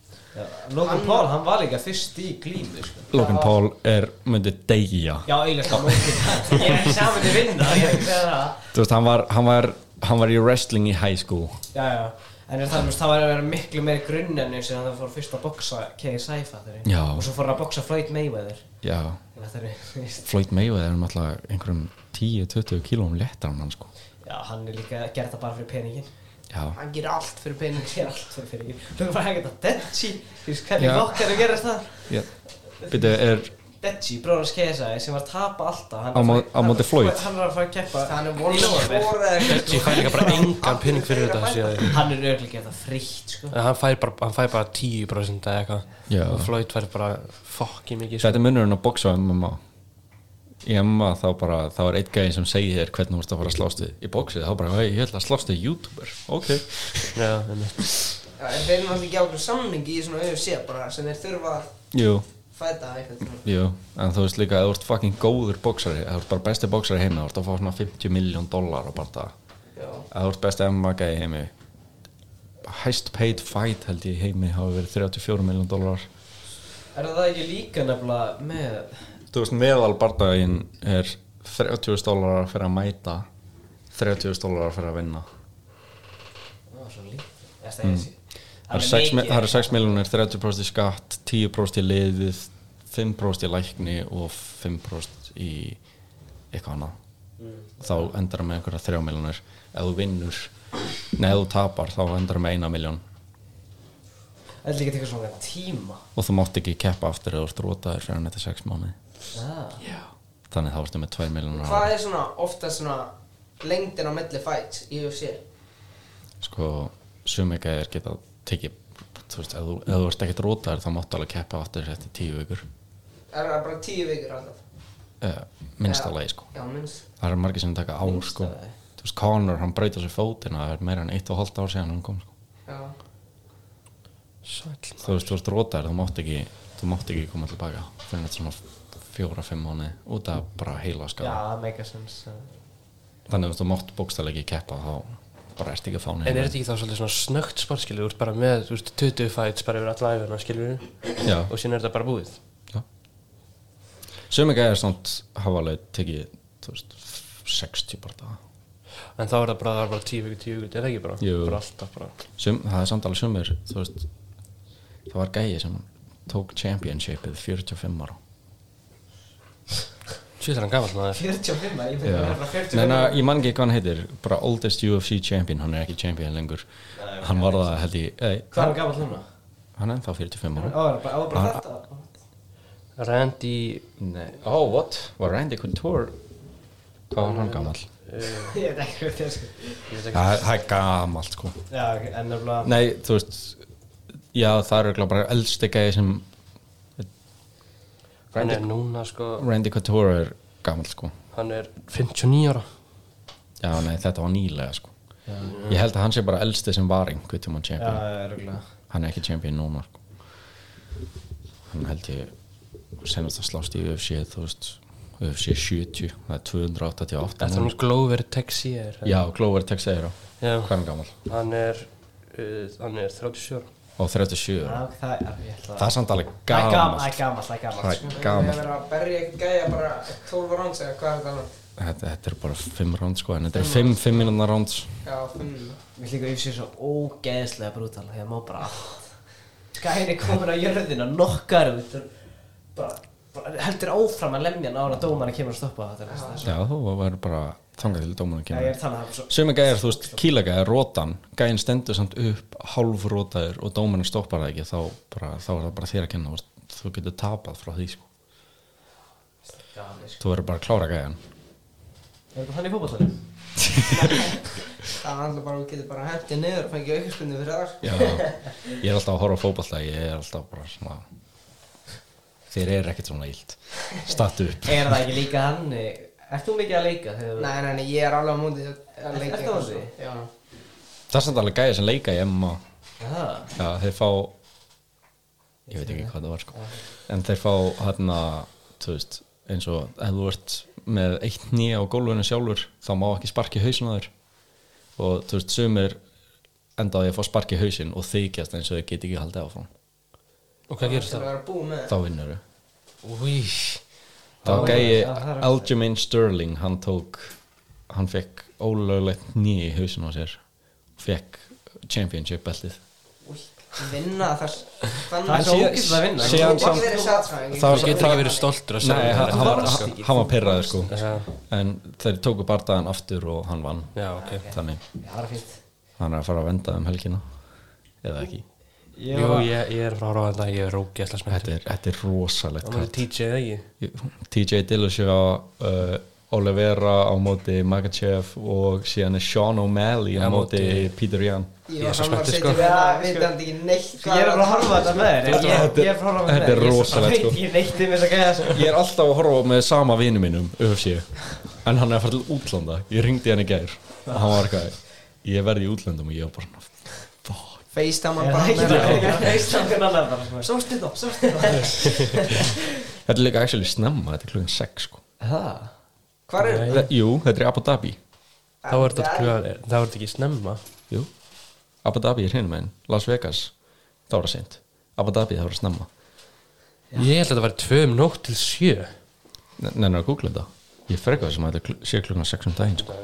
Speaker 1: Logan Paul, hann var líka fyrst í glímu sko.
Speaker 3: Logan Paul er, myndi deyja
Speaker 1: Já, eiginlega sko, Logan Ég er saman til vinna, ég er ekki að segja það
Speaker 3: þú veist, hann var, hann var, hann var í wrestling í high school
Speaker 1: Já, já En er það, þú veist, það var að vera miklu meiri grunn en eins og hann fór fyrst að boksa KSI fattur
Speaker 3: Já.
Speaker 1: Og svo fór hann að boksa Floyd Mayweather
Speaker 3: Já,
Speaker 1: Þetta er, þú veist
Speaker 3: Floyd Mayweather er náttúrulega einhverjum 10-20 kílóum léttar en hann sko
Speaker 1: Já, hann er líka gert það bara fyrir peningin
Speaker 3: Já,
Speaker 2: hann gerir allt fyrir pening
Speaker 1: Sér allt fyrir peningin Þú er bara að hægja þetta Dechi Þú veist, hvernig
Speaker 3: Já.
Speaker 1: okkar er að gera það
Speaker 3: ég Byrju, er
Speaker 1: Dechi, bróðars KSI, sem var að tapa alltaf hann
Speaker 3: Á
Speaker 1: er að
Speaker 3: mó-
Speaker 1: fara-
Speaker 3: á móti Floyd?
Speaker 1: Hann er að fara að keppa
Speaker 2: hann er
Speaker 1: Í nóvember.
Speaker 2: volsvora
Speaker 4: Ég
Speaker 2: sko.
Speaker 4: fær líka bara engan pinning fyrir þetta síðan.
Speaker 1: Hann er örglega gett það fritt, sko
Speaker 4: En hann fær bara, hann fær bara 10% eða eitthvað
Speaker 3: Já.
Speaker 4: og Floyd fær bara fokki mikið sko.
Speaker 3: Þetta er munurinn að boksa á MMA Í MMA þá bara, þá er eitt gæði sem segir þér hvernig þú vorst að fara að slást við Í bóksið þá bara, hei, ég ætla að slást við YouTuber Ok
Speaker 4: Já, einmitt.
Speaker 2: en þeir eru náttúrulega ekki ákveð samningi í svona UFC bara sem þeir þurfa að
Speaker 3: Jú,
Speaker 2: fæta eitthvað sko. tíma
Speaker 3: jú, en þú veist líka að þú ert fucking góður bóksari Þú ert bara besti bóksari heimi, þú ert að fá svona 50 miljón dólar og bara það
Speaker 2: já
Speaker 3: Að þú ert besti MMA gæði heimi Hæst paid fight held ég í heimi hafi verið 34 miljón dólar
Speaker 1: Er það ekki líka nefnilega með
Speaker 3: þú veist meðal bardaginn er 30 dólarar fyrir að mæta 30 dólarar fyrir að vinna
Speaker 1: Það var svo lítið Eða, Það er þessi-
Speaker 3: Mm. það eru
Speaker 1: er
Speaker 3: 6,
Speaker 1: mikið.
Speaker 3: það eru 6 miljonir 30% í skatt, 10% í liðið 5% í lækni og 5% í eitthvað annað
Speaker 1: Mm.
Speaker 3: þá endar það með einhverja 3 miljonir ef þú vinnur, nei ef þú tapar þá endar það með 1 miljón
Speaker 1: Það er líka tekur svona tíma
Speaker 3: og þú mátt ekki keppa aftur eða þú ert rótaður fyrir þetta 6 mánuði
Speaker 1: ah.
Speaker 3: þannig þá ertu með 2 miljonir
Speaker 2: hvað er svona ofta svona lengdin á milli fights í UFC
Speaker 3: sko sumegæðir geta tekið þú veist, ef þú, ef þú ert ekkert rótaður þá máttu alveg keppa aftur eftir tíu vikur
Speaker 2: er það bara tíu vikur alltaf
Speaker 3: uh, minnsta lagi sko
Speaker 2: já minnst
Speaker 3: það eru margir sem taka ár sko þú veist, Conor, hann breyta sér fótina það er meira en eitt og hálft ár síðan hann kom sko.
Speaker 2: já
Speaker 4: Sæll.
Speaker 3: þú veist, þú ert rótaður, þú mátt ekki þú mátt ekki koma tilbaka fyrir þetta svona fjóra, fimm mánu út af bara heila
Speaker 1: Já,
Speaker 3: skala
Speaker 1: það make a sense uh.
Speaker 3: þannig að þú mátt bókstælega ekki keppa þá bara ert ekki að fá
Speaker 4: En er
Speaker 3: neitt
Speaker 4: þetta ekki þá svolítið svona snögt sport skilur Þú ert bara með, þú veist, 20 fights bara yfir alla æfina skilur
Speaker 3: Já.
Speaker 4: og síðan er þetta bara búið
Speaker 3: sumegæðir samt hafa alveg tekið þú veist, 60 bara daga
Speaker 4: En þá er það bara, það er bara 10 vikur, 10 vikur, er það ekki bara?
Speaker 3: Jú.
Speaker 4: Bara alltaf bara
Speaker 3: Sum, það er samt alveg sumir þú veist, það var gæi sem tók championshipið 45 ára
Speaker 4: Sjöður hann gamall maður
Speaker 1: 45, ég finnst að vera 40
Speaker 3: Neina, ég man ekki hvað hann heitir bara oldest UFC champion, hann er ekki champion lengur hann var það held ég ei,
Speaker 1: Hvað er hann gamall núna?
Speaker 3: hann er ennþá 45
Speaker 1: Á,
Speaker 3: ára
Speaker 1: er bara, á, er
Speaker 4: Ah.
Speaker 1: bara þetta
Speaker 4: Randy
Speaker 3: Nei. oh what, var Randy Couture hvað var hann gammal
Speaker 1: Ég veit ekki hvað þetta er sko
Speaker 3: það er gammalt sko
Speaker 1: Já, ok, en nefnilega
Speaker 3: Nei, þú veist já, það eru örugglega bara eldsti gæi sem
Speaker 4: Hann er núna sko,
Speaker 3: Randy Couture er gammal sko
Speaker 4: hann er 59 ára
Speaker 3: Já, nei, þetta var nýlega sko Ég held að hann sé bara elsti sem var einhvern tíma
Speaker 1: Já,
Speaker 3: champion
Speaker 1: örgulega
Speaker 3: Hann er ekki champion núna sko. Hann held ég senast að slást í UFC þú veist, UFC 70 það er 288
Speaker 4: Þetta er
Speaker 3: núna.
Speaker 4: nú Glover Texier
Speaker 3: Já, Glover Texeira
Speaker 4: Já.
Speaker 3: Hvað er hann gammal?
Speaker 4: Hann er, uh, hann er 37 ára
Speaker 3: Og 37
Speaker 1: Já,
Speaker 3: ára.
Speaker 1: ok, það er, ég ætla
Speaker 3: Það er samt alveg
Speaker 1: Það er gamall,
Speaker 3: gammal
Speaker 1: það er gamall, það er
Speaker 3: Það
Speaker 1: gamall
Speaker 2: það
Speaker 3: er gammal
Speaker 2: er að berja eitthvað gæja bara 12 rounds eða hvað er þetta annað
Speaker 3: þetta, þetta er bara 5 round sko en þetta er 5 5 minúna round
Speaker 2: já fimm
Speaker 1: Mér líka UFC svo ógeðslega brútal Þegar má bara Skærin er komin á jörðina Nokkar út og bara, bara heldur áfram að lemja hann Ára dómarinn kemur að stoppa það Þetta er
Speaker 3: Já, þú verður bara þangað til dómunum
Speaker 1: Já,
Speaker 3: kemur
Speaker 1: ég er að tala um það svo
Speaker 3: Sumi gæjar, þú veist, kílagæjar, rótan gæjin stendur samt upp, hálf rótaður og dómarinn stoppar það ekki þá, bara, þá er það bara þér að kenna þú veist, þú getur tapað frá því sko.
Speaker 1: Gamli, sko.
Speaker 3: þú verður bara að klára gæjan
Speaker 1: Er þetta þannig í fótbollanum?
Speaker 2: það er alltaf bara þú getur bara hendið niður og fengið aukvöspunni fyrir það
Speaker 3: Já, ég er alltaf að horfa á fótballta ég er alltaf bara svona þér er ekkert svona ílt statu upp
Speaker 1: Er það ekki líka hann? Ert þú mikið að leika? Þegar...
Speaker 2: nei nei nei ég er alveg á mútið að
Speaker 1: Ertu
Speaker 2: leika
Speaker 1: á því?
Speaker 2: já
Speaker 3: það er samt alveg gæði sem leika í MMA
Speaker 1: Já,
Speaker 3: já, þeir fá ég veit ekki hvað það var sko en þeir fá hérna þú veist, eins og ef þú ert með eitt nýja á gólfinu sjálfur þá má ekki sparki hausin á þér og þú veist, sumir enda á því að fá sparki hausin og þykjast eins og þeir get ekki haldið áfram
Speaker 4: Og hvað gerist
Speaker 2: Það
Speaker 4: það?
Speaker 2: var að búa með
Speaker 3: þá vinnur þau
Speaker 4: Úi,
Speaker 1: Já,
Speaker 3: Það var
Speaker 1: það
Speaker 3: gæi
Speaker 1: er-
Speaker 3: Aljamain Sterling hann tók hann fekk ólöglegt nýja í hausinu á sér fekk championship beltið
Speaker 2: það Vinna þar
Speaker 1: Það er
Speaker 2: Þannig
Speaker 1: svo
Speaker 3: síðan-
Speaker 1: ógist að vinna
Speaker 3: síðan
Speaker 2: Það
Speaker 3: samt-
Speaker 2: var verið sko, satsvæðing
Speaker 3: Það var-
Speaker 4: þú getur
Speaker 3: það-
Speaker 4: ekki verið stoltur að
Speaker 3: Nei,
Speaker 4: segja
Speaker 3: hann, hann, var,
Speaker 1: varst
Speaker 3: hann,
Speaker 1: ekki.
Speaker 3: hann var perraður sko
Speaker 4: Já,
Speaker 3: en þeir tóku bardaðan aftur og hann vann
Speaker 4: já, ok
Speaker 3: þannig
Speaker 1: Já, það er fínt
Speaker 3: hann er að fara að venda um helgina eða ekki
Speaker 1: Ég
Speaker 4: Jú,
Speaker 1: var-
Speaker 4: ég, ég er frá ráðan að ég er rókjæsla smettur
Speaker 3: þetta er, þetta er rosalegt
Speaker 4: Það var
Speaker 3: kall.
Speaker 4: TJ eða ekki?
Speaker 3: TJ Dillashaw uh, Olivera á móti Magachev og síðan er Sean O'Malley á
Speaker 4: Já,
Speaker 3: móti
Speaker 4: móti-
Speaker 3: Peter Young
Speaker 2: Ég var saman að
Speaker 4: spenntur,
Speaker 2: setja
Speaker 4: sko.
Speaker 2: við það Vitandi ekki neitt
Speaker 1: Ég er bara að horfa á þetta með þér
Speaker 3: Þú-
Speaker 1: Ég ég- ég er bara að horfa á þetta með
Speaker 3: Þetta er
Speaker 1: þér. Ég-
Speaker 3: rosalegt, sko.
Speaker 1: Ég veit ekki neitt um þess að gæða sko.
Speaker 3: Ég er alltaf að horfa með sama vinu mínum UFC, en hann er að fara til útlanda ég ringdi hann í gær og hann var eitthvað, ég verði í útlandum og ég var bara fuck
Speaker 2: Facetime
Speaker 1: Ég
Speaker 2: hann bara
Speaker 1: er
Speaker 2: með
Speaker 1: ekki
Speaker 2: það
Speaker 1: að veist að hvernig annar bara sko.
Speaker 2: Sástu þá, sástu þá
Speaker 3: Þetta er líka actually snemma, þetta er klukkan 6 sko.
Speaker 1: Það?
Speaker 2: Hvar er
Speaker 3: Þe- Jú, þetta er í Abu Dhabi
Speaker 4: Þá var þetta klugan, þá var þetta ekki snemma
Speaker 3: Jú, Abu Dhabi er hinum en Las Vegas, þá er það seint Abu Dhabi þá er það snemma
Speaker 4: Ég held að þetta var tvöum nótt til sjö
Speaker 3: Nennar að googla þetta Ég frekar þessum að þetta kl- sé klukkan 6 um daginn sko.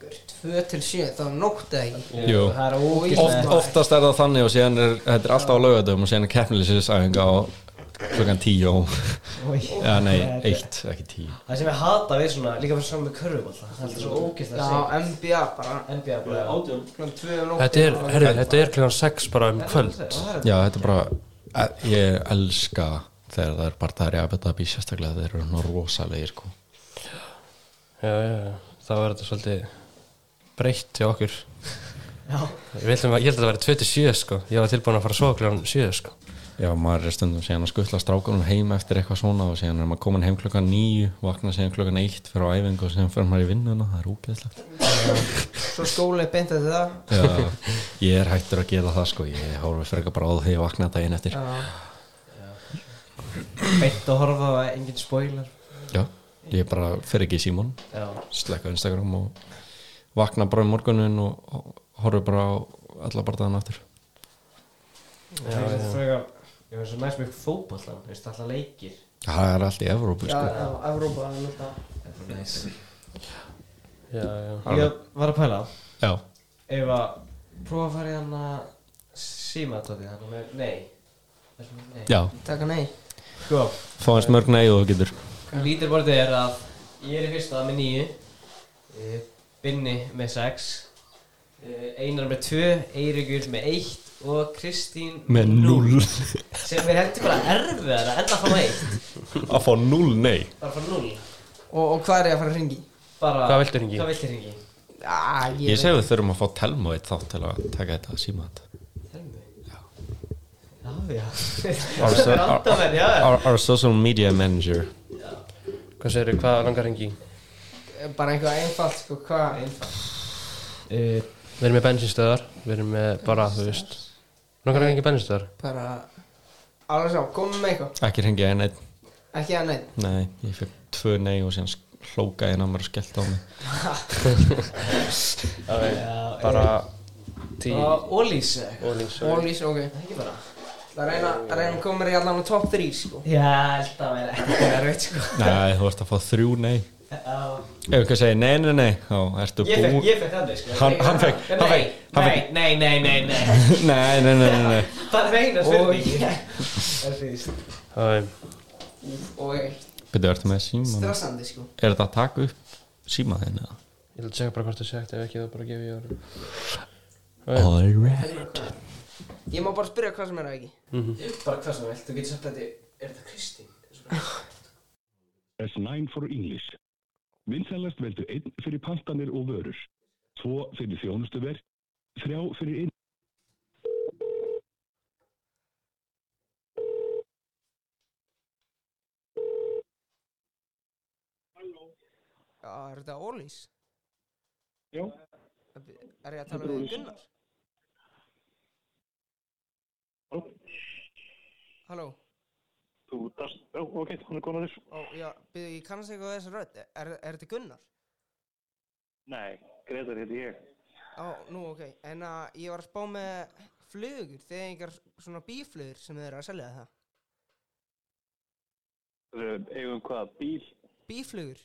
Speaker 2: Gur, 2 til 7, þá nóttu það ekki
Speaker 3: Jú,
Speaker 1: Það er
Speaker 3: Oft,
Speaker 1: ógist
Speaker 3: oftast er það þannig og síðan er þetta er alltaf á laugardöfum og síðan er keppnilisisæðinga á klukkan 10 Já, nei, eitt, ekki 10
Speaker 1: Það sem ég hata við svona Líka fyrir saman með körfubólta Það er alltaf svo ógist að
Speaker 2: Já,
Speaker 1: segja
Speaker 2: NBA bara
Speaker 1: NBA bara átjón
Speaker 2: Klukkan 2 um nóttu
Speaker 4: Þetta er, herri, þetta er klugan sex bara um kvöld
Speaker 3: Já, þetta er bara, eh, ég elska þegar það er bara það er í Abu Dhabi sérstaklega þeir eru nú rosalegir sko.
Speaker 4: Já, já, já, þá var þetta svolítið breytt til okkur
Speaker 1: Já
Speaker 4: Ég, veldum, ég held að þetta væri 27 sko Ég var tilbúin að fara að sofa kljóðan 7 sko
Speaker 3: Já, maður er stundum síðan að skutla strákunum heim eftir eitthvað svona og síðan er maður komin heim klukkan 9 vakna síðan klukkan 1 fyrir á æfingu og síðan fyrir maður í vinnuna, það er úgeðslegt
Speaker 2: Svo skóli beint eftir það
Speaker 3: Já, ég er hættur að gera það sko, ég horfi frekar bara á því að vakna daginn eftir
Speaker 2: Já,
Speaker 1: Beitt að horfa á engin spoiler
Speaker 3: Já, ég bara fer ekki í símón
Speaker 1: Já
Speaker 3: slekka á Instagram og vakna bara um morgunin og og horfi bara á alla barðaðan aftur
Speaker 1: Það er þetta frekar Ég finnst svo næst mjög fótboltan Þú veist alltaf leikir
Speaker 3: það er allt í Evrópu
Speaker 2: já,
Speaker 3: sko.
Speaker 2: já, Evrópa er náttúrulega
Speaker 1: Það er bara næs
Speaker 4: Já, já
Speaker 1: Ég var að pæla
Speaker 3: já,
Speaker 1: Ef að Prófa að fara í hann að Sima tóti hann með Nei Það er svona Nei
Speaker 3: já,
Speaker 2: Takk að nei
Speaker 1: Sko
Speaker 3: fá eins mörg nei og þú getur
Speaker 1: Lítir bortið er að Ég er í fyrsta með níu eh, Binni með sex eh, Einar með tvö Eirikur með eitt Og Kristín
Speaker 3: með null
Speaker 1: Sem er heldur bara erfiðar að enda að fá eitt
Speaker 3: að fá null nei
Speaker 1: Bara að fá null
Speaker 2: Og, og hvað er ég að fara að ringi?
Speaker 1: Bara
Speaker 4: Hvað viltu hringi?
Speaker 1: Hvað viltu ringi?
Speaker 2: Já, ég,
Speaker 3: ég segi við þurfum að fá telma eitt þátt til að taka þetta síma þetta
Speaker 1: Telmi Já Já, já Randamenn, já
Speaker 3: our, our social media manager
Speaker 4: Hvað segirðu, hvað langar hengi?
Speaker 2: veit Bara eitthvað einfalt, sko, hvað Einfalt
Speaker 4: Við erum með bensinstöðar Við erum með bara, þú veist Langar hengi bensinstöðar?
Speaker 2: Bara Alveg sá, komum með eitthvað
Speaker 3: ekki hringi einn einn
Speaker 2: Ekki að neitt
Speaker 3: nei, ég fekk tvö nei og síðan hlóka einn að mér og skellt á mig
Speaker 4: Bara tí
Speaker 1: Bara ólýs eða eitthvað.
Speaker 4: Ólís og
Speaker 2: Ólís, ok
Speaker 1: Það er ekki bara
Speaker 2: Það reyna, að reyna að koma mér í allan á top 3, sko
Speaker 1: Já, held að vera Þetta er erfitt sko
Speaker 3: nei, þú ert að fá þrjú nei ef
Speaker 1: Já
Speaker 3: einhver segir nei, nei, nei þá ertu
Speaker 1: Ég fekk,
Speaker 3: búin
Speaker 1: ég fekk þannig sko
Speaker 3: Hann- hann fékk-
Speaker 1: Nei,
Speaker 3: hann fékk- hann fékk-
Speaker 1: Nei, nei, nei, nei, nei
Speaker 3: nei, nei, nei, nei, nei.
Speaker 1: Það er eina spurning
Speaker 2: Oj.
Speaker 1: Það er fyrst
Speaker 4: Nei,
Speaker 2: Og
Speaker 3: Byrðu, ertu með síman?
Speaker 2: stressandi, sko
Speaker 3: Er þetta að taka upp síma þinn eða?
Speaker 4: ég vil segja bara hvort þú segt Ef ekki þá bara gefi ég orðin
Speaker 3: Alright
Speaker 2: Ég má bara spyrja hvað sem er að ekki
Speaker 4: Mhm.
Speaker 1: Bara hvað sem þú vilt, þú getur sagt að þetta Er þetta Kristín?
Speaker 5: Press 9 for English. Vinsalast veldu 1 fyrir pantanir og vörur, 2 fyrir þjónustuverð, 3 fyrir inn...
Speaker 2: Já, er þetta Ólís?
Speaker 5: Já.
Speaker 2: Er ég að tala við Gunnar? Halló?
Speaker 6: Þú dast, já, ok, hann er konar þér.
Speaker 2: Ó, já, byrju, ég kannast ekki á þessa rödd. Er, er þetta Gunnar?
Speaker 6: Nei, Gretar heiti ég.
Speaker 2: Ó, nú, ok. En að ég var að spá með flugur, þegar einhver svona bíflugur sem þið eru að selja það.
Speaker 6: Við eigum hvaða bíl,
Speaker 2: Bíflugur?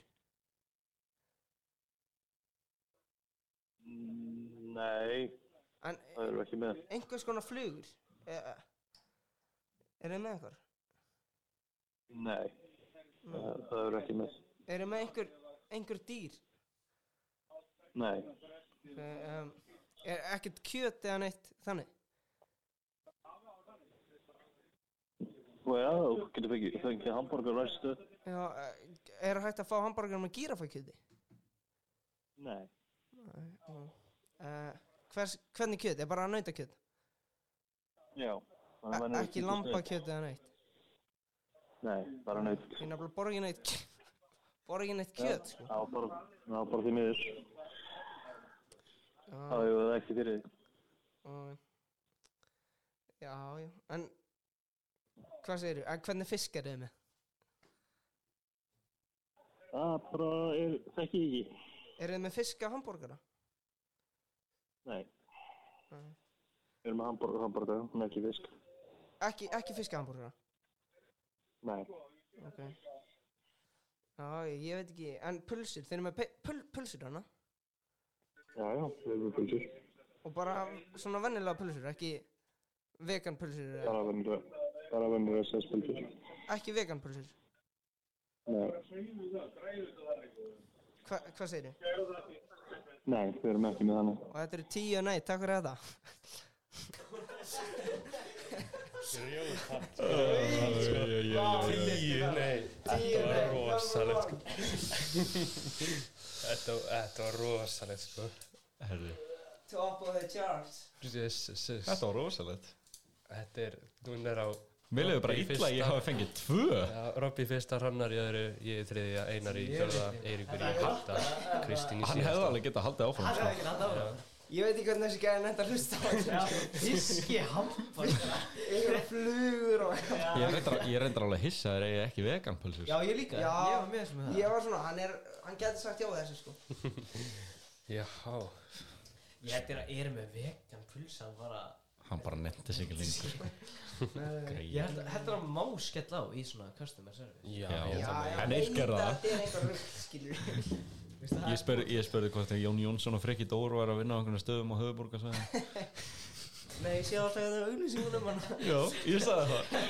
Speaker 6: nei,
Speaker 2: En
Speaker 6: það erum við ekki með.
Speaker 2: einhvers konar flugur? E, Er, er þið með einhver?
Speaker 6: Nei, það það erum við ekki með.
Speaker 2: Er þið með einhver, einhver dýr?
Speaker 6: Nei,
Speaker 2: Eh, Um, er ekkert kjöt eða neitt þannig?
Speaker 6: og já, þú getur fengið, fengið hambúrgar ræstu.
Speaker 2: Já, eh, er hægt að fá hambúrgar með gírafakjöti?
Speaker 6: Nei,
Speaker 2: Uh, hvers, hvernig kjöt? Er bara nautakjöt?
Speaker 6: já. það er
Speaker 2: E-
Speaker 6: venjulega
Speaker 2: Ekki
Speaker 6: kjöt í steik.
Speaker 2: lambakjöt eða neitt?
Speaker 6: Nei, bara naut.
Speaker 2: Ég nefnilega borða ekki neitt kjöt. Borða ekki neitt kjöt, sko.
Speaker 6: Já, bara, já, bara því miður.
Speaker 2: Já,
Speaker 6: Þá hefur það ekki fyrir því.
Speaker 2: og- já, já. En hvað segir þú? En hvernig fisk er þið með?
Speaker 6: Það bara er, þekki ég ekki.
Speaker 2: Er þið með fisk á hambúrgara?
Speaker 6: Nei.
Speaker 2: Nei.
Speaker 6: Við erum með hambúrgar, hambúrgar, hún er ekki fisk.
Speaker 2: Ekki, ekki fisk á hambúrgara?
Speaker 6: Nei,
Speaker 2: Ok. Já, ég, ég veit ekki. En pulsur, þeir eru með pe- pul, pulsur hana?
Speaker 6: já, já, við erum með pulsur.
Speaker 2: Og bara svona vennilega pulsur, ekki vegan pulsur, eða-
Speaker 6: Bara vennur, bara vennur að segja pulsur.
Speaker 2: ekki vegan pulsur.
Speaker 6: Nei,
Speaker 2: Hva, hvað segir þið?
Speaker 6: nei, við erum ekki með þannig.
Speaker 2: Og þetta eru tíu, nei, takk fyrir þetta.
Speaker 4: Tíu, nei Þetta var rosalegt sko. Þetta þetta var rosalegt sko
Speaker 3: Herri,
Speaker 2: Top of the charts.
Speaker 4: Jesus, Jesus.
Speaker 3: þetta var rosalegt
Speaker 4: Þetta er, núna er á
Speaker 3: Mér leiði bara
Speaker 4: Robby
Speaker 3: illa að ég
Speaker 4: fyrsta-
Speaker 3: hafi fengið tvö
Speaker 4: Já, Robby fyrsta, Hrannar í öðru, ég í þriðja, Einar í fjörða, Eiríkur í fyrsta, Kristín í
Speaker 3: Hann hefði
Speaker 4: síðasta.
Speaker 3: alveg getað haldið áfram sko.
Speaker 2: Ég veit ekki hvernig þessi gæði nætt að hlusta á þetta.
Speaker 7: Fiski hambúrgar
Speaker 2: Einhverja flugur og...
Speaker 3: Ég er reyndar- ég er reyndar alveg hissa að þeir eigi ekki veganpulsur
Speaker 7: Já, ég líka
Speaker 2: Já.
Speaker 7: Ég var með sem það
Speaker 2: Ég var svona, hann er, hann getur sagt já við þessu sko.
Speaker 4: Já,
Speaker 7: Ég held þér að eru með vegan pulsan bara
Speaker 3: Hann bara nefndi sig ekki lengur sko.
Speaker 7: Ég held held að hann má skella á í svona customer service
Speaker 4: já,
Speaker 3: Já.
Speaker 4: já.
Speaker 3: En einn gerði það.
Speaker 2: Þetta er einhver rugg, skilur.
Speaker 3: Ég spurði, ég spurði hvort að Jón Jónsson og Freki Dór var að vinna á einhvern stöðum á höfuborgarsvæðin
Speaker 2: Nei, ég sé alltaf þetta auglýsingunum hann.
Speaker 3: Já, ég sagði það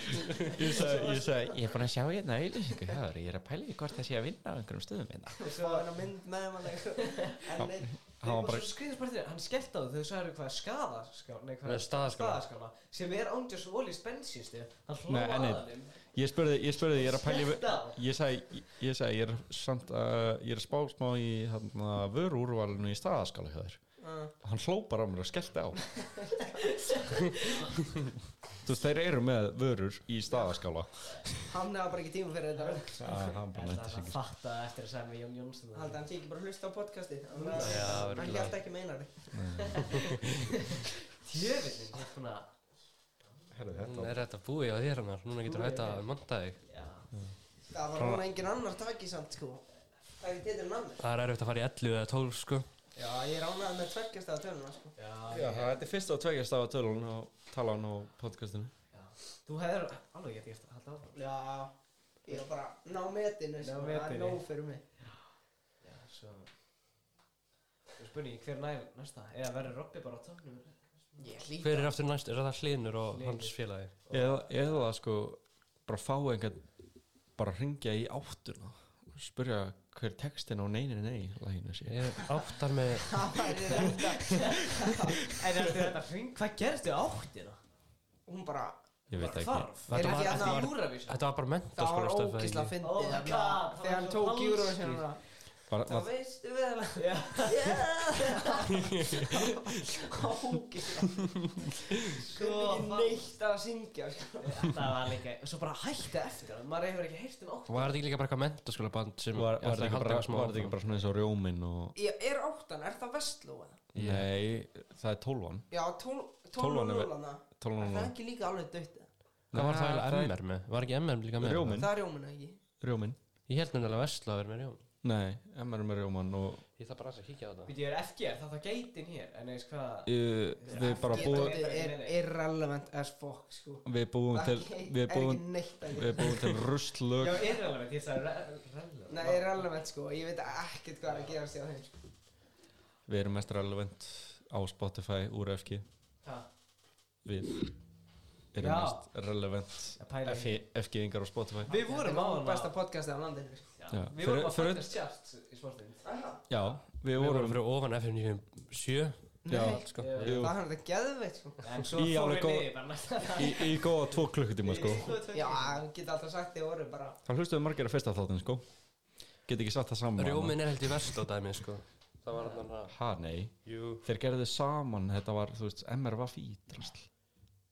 Speaker 3: Ég sagði, ég sagði Ég er búin að sjá hérna auðlýsingu hér Ég er að pæla í hvort það sé að vinna á einhverjum stöðum hérna
Speaker 2: Og svo hann að mynd með hann En neitt.
Speaker 3: Hann
Speaker 7: Og
Speaker 3: var bara
Speaker 7: svo skriðispartir, hann skellt á þau þau sagði hvað skadaskál, nei hvað
Speaker 4: Nei, staðaskál.
Speaker 7: staðaskála sem er ándjós og olís bensinstu hann
Speaker 3: Nei,
Speaker 7: hlóða
Speaker 3: en
Speaker 7: aðanum
Speaker 3: neitt Ég spurði, ég spurði, ég er að pæla í
Speaker 7: Þetta á.
Speaker 3: Ég sagði, ég sagði, ég er samt að Ég er að spá smá í hérna, vörúrvalinu í staðaskála hjá þér
Speaker 2: Ah.
Speaker 3: Hann hló bara á mér og skellti á Þú veist, þeir eru með vörur í staðaskála
Speaker 2: Hann hefði bara ekki tíma fyrir þetta rugg.
Speaker 3: Ah, hann bara
Speaker 7: Ég held að
Speaker 3: nefndi sig
Speaker 7: hann
Speaker 3: ekki
Speaker 7: fatta eftir að segja með Jón Jónsson
Speaker 2: Haldi hann sé ekki bara að hlusta á podcasti. Hann
Speaker 4: Já,
Speaker 2: hann
Speaker 4: örugglega.
Speaker 2: held ekki meinar þig.
Speaker 7: Tjöfillin, þetta er svona
Speaker 3: Herðu, þetta
Speaker 4: Núna er þetta búið á þér hannar, núna getur þetta að manda þig.
Speaker 7: Já,
Speaker 2: Það var núna engin annar taki samt sko. Það er ekki þetta namni.
Speaker 4: Það er erfitt að fara í 11 eða 12 sko.
Speaker 2: Já, ég ránaði með tveggjast af töluna sko.
Speaker 7: já,
Speaker 3: Já, það þetta er fyrsta og tveggjast af tölun og talan á podcastinu
Speaker 7: já Þú hefur alveg gett gert að halda áfram
Speaker 2: Já, ég var bara ná metinu,
Speaker 7: Ná
Speaker 2: sko, það er
Speaker 7: metinu.
Speaker 2: nóg fyrir mig.
Speaker 7: Já, svo Þú spurning, hver nær næsta? Eða verður Robby bara á tóknum?
Speaker 2: Ég hlýt.
Speaker 4: Hver er aftur næst? Er það Hlinur og
Speaker 7: Hlynur.
Speaker 4: hans félagi?
Speaker 3: eða, eða sko bara fá einhvern bara ringja í áttuna og spyrja hver textin á neyni ney læginu sé
Speaker 4: Ég áttar með,
Speaker 2: Það var þetta.
Speaker 7: En er þetta hring? Hvað gerðist þið áttina?
Speaker 2: Hún bara,
Speaker 3: ég veit ekki
Speaker 7: Þarf?
Speaker 4: Þetta
Speaker 7: Er
Speaker 4: var-
Speaker 7: þetta
Speaker 2: þetta
Speaker 7: hérna
Speaker 2: var-
Speaker 7: Júravísa?
Speaker 4: þetta var bara sko,
Speaker 2: það var
Speaker 4: mentaskóla
Speaker 2: ógisla
Speaker 7: Oh my
Speaker 2: fyndið. þarna.
Speaker 7: god, það var
Speaker 2: Þegar hann
Speaker 7: svo
Speaker 2: tók
Speaker 7: falskt.
Speaker 2: Eurovision hana.
Speaker 3: Var,
Speaker 2: Þá
Speaker 3: var,
Speaker 2: veistu vel að Ógæslega Sko ekki neitt að syngja sko.
Speaker 1: Það var líka Og svo bara hætti eftir hann Maður hefur ekki heyrt um okkur
Speaker 4: Var þetta ekki líka bara eitthvað mentaskóla band sem
Speaker 3: var, var, þetta
Speaker 4: ætlaði að
Speaker 3: ekki
Speaker 4: halda
Speaker 3: bara,
Speaker 4: eitthvað smá
Speaker 3: var þetta ekki
Speaker 4: áfram?
Speaker 3: bara svona eins og rjómin og
Speaker 2: Ég er áttan, er það vestlóa?
Speaker 3: Nei, það er tólvan
Speaker 2: Já, tól-
Speaker 3: Tólfan
Speaker 2: tólfan
Speaker 3: er
Speaker 2: og
Speaker 3: ve-
Speaker 2: núlana Er
Speaker 3: Tólvan
Speaker 2: það
Speaker 3: og
Speaker 2: ekki líka alveg dött?
Speaker 4: Hvað var það
Speaker 3: Nei,
Speaker 4: eiginlega MR með? Var ekki MR líka með?
Speaker 3: Rjómin,
Speaker 2: Það er jóminu ekki
Speaker 3: rjómin
Speaker 4: Ég held nefnilega Vesla að vera með rjóm
Speaker 3: Nei, MR með rjóman og
Speaker 4: Ég þarf bara aðeins að kíkja á þetta
Speaker 1: Býtu, ég er FGR, það er geitin hér En eins hvað
Speaker 3: uh, við bara búum
Speaker 2: Þetta er irrelevant as fuck sko
Speaker 3: Við búum til
Speaker 2: Ekki-
Speaker 3: Við
Speaker 2: Er
Speaker 3: búum,
Speaker 2: ekki neitt að
Speaker 3: við búum til
Speaker 1: Já,
Speaker 3: rustlög
Speaker 1: irrelevant, ég sagði re- relevant
Speaker 2: Nei, irrelevant sko, ég veit ekkert hvað er að gerast hjá þeim sko.
Speaker 3: Við erum mest relevant á Spotify úr FG
Speaker 1: Ha,
Speaker 3: Við erum
Speaker 1: Já.
Speaker 3: mest relevant
Speaker 1: Ég pæla í því.
Speaker 3: FG-ingar á Spotify
Speaker 1: Við vorum á
Speaker 2: Þetta er
Speaker 1: hann
Speaker 2: besta podcastið á landinu sko.
Speaker 3: Já.
Speaker 1: Við vorum
Speaker 3: Fyrir-
Speaker 1: að
Speaker 3: fyrir-
Speaker 1: fættast tjátt í smástund
Speaker 3: Já, við
Speaker 4: Við vorum
Speaker 3: vorum
Speaker 4: fyrir ofan F97
Speaker 3: Já,
Speaker 2: Nei,
Speaker 4: sko.
Speaker 3: Jú.
Speaker 2: það er þetta geðveitt sko
Speaker 1: En svo
Speaker 3: Í
Speaker 1: fórum
Speaker 3: alveg
Speaker 1: við
Speaker 3: góð-
Speaker 1: niður bara næsta dag
Speaker 3: í, í góða tvo klukkutíma sko
Speaker 2: Já, hann geti alltaf sagt því orðu bara
Speaker 3: Það hlustuðu margir að fyrsta þáttin sko Get ekki satt það saman
Speaker 4: Rjómin er held í Vesla dæmi sko Það var hann að
Speaker 3: Ha, nei
Speaker 4: Jú
Speaker 3: Þeir gerðu saman, þetta var, þú veist, MR var fítrasl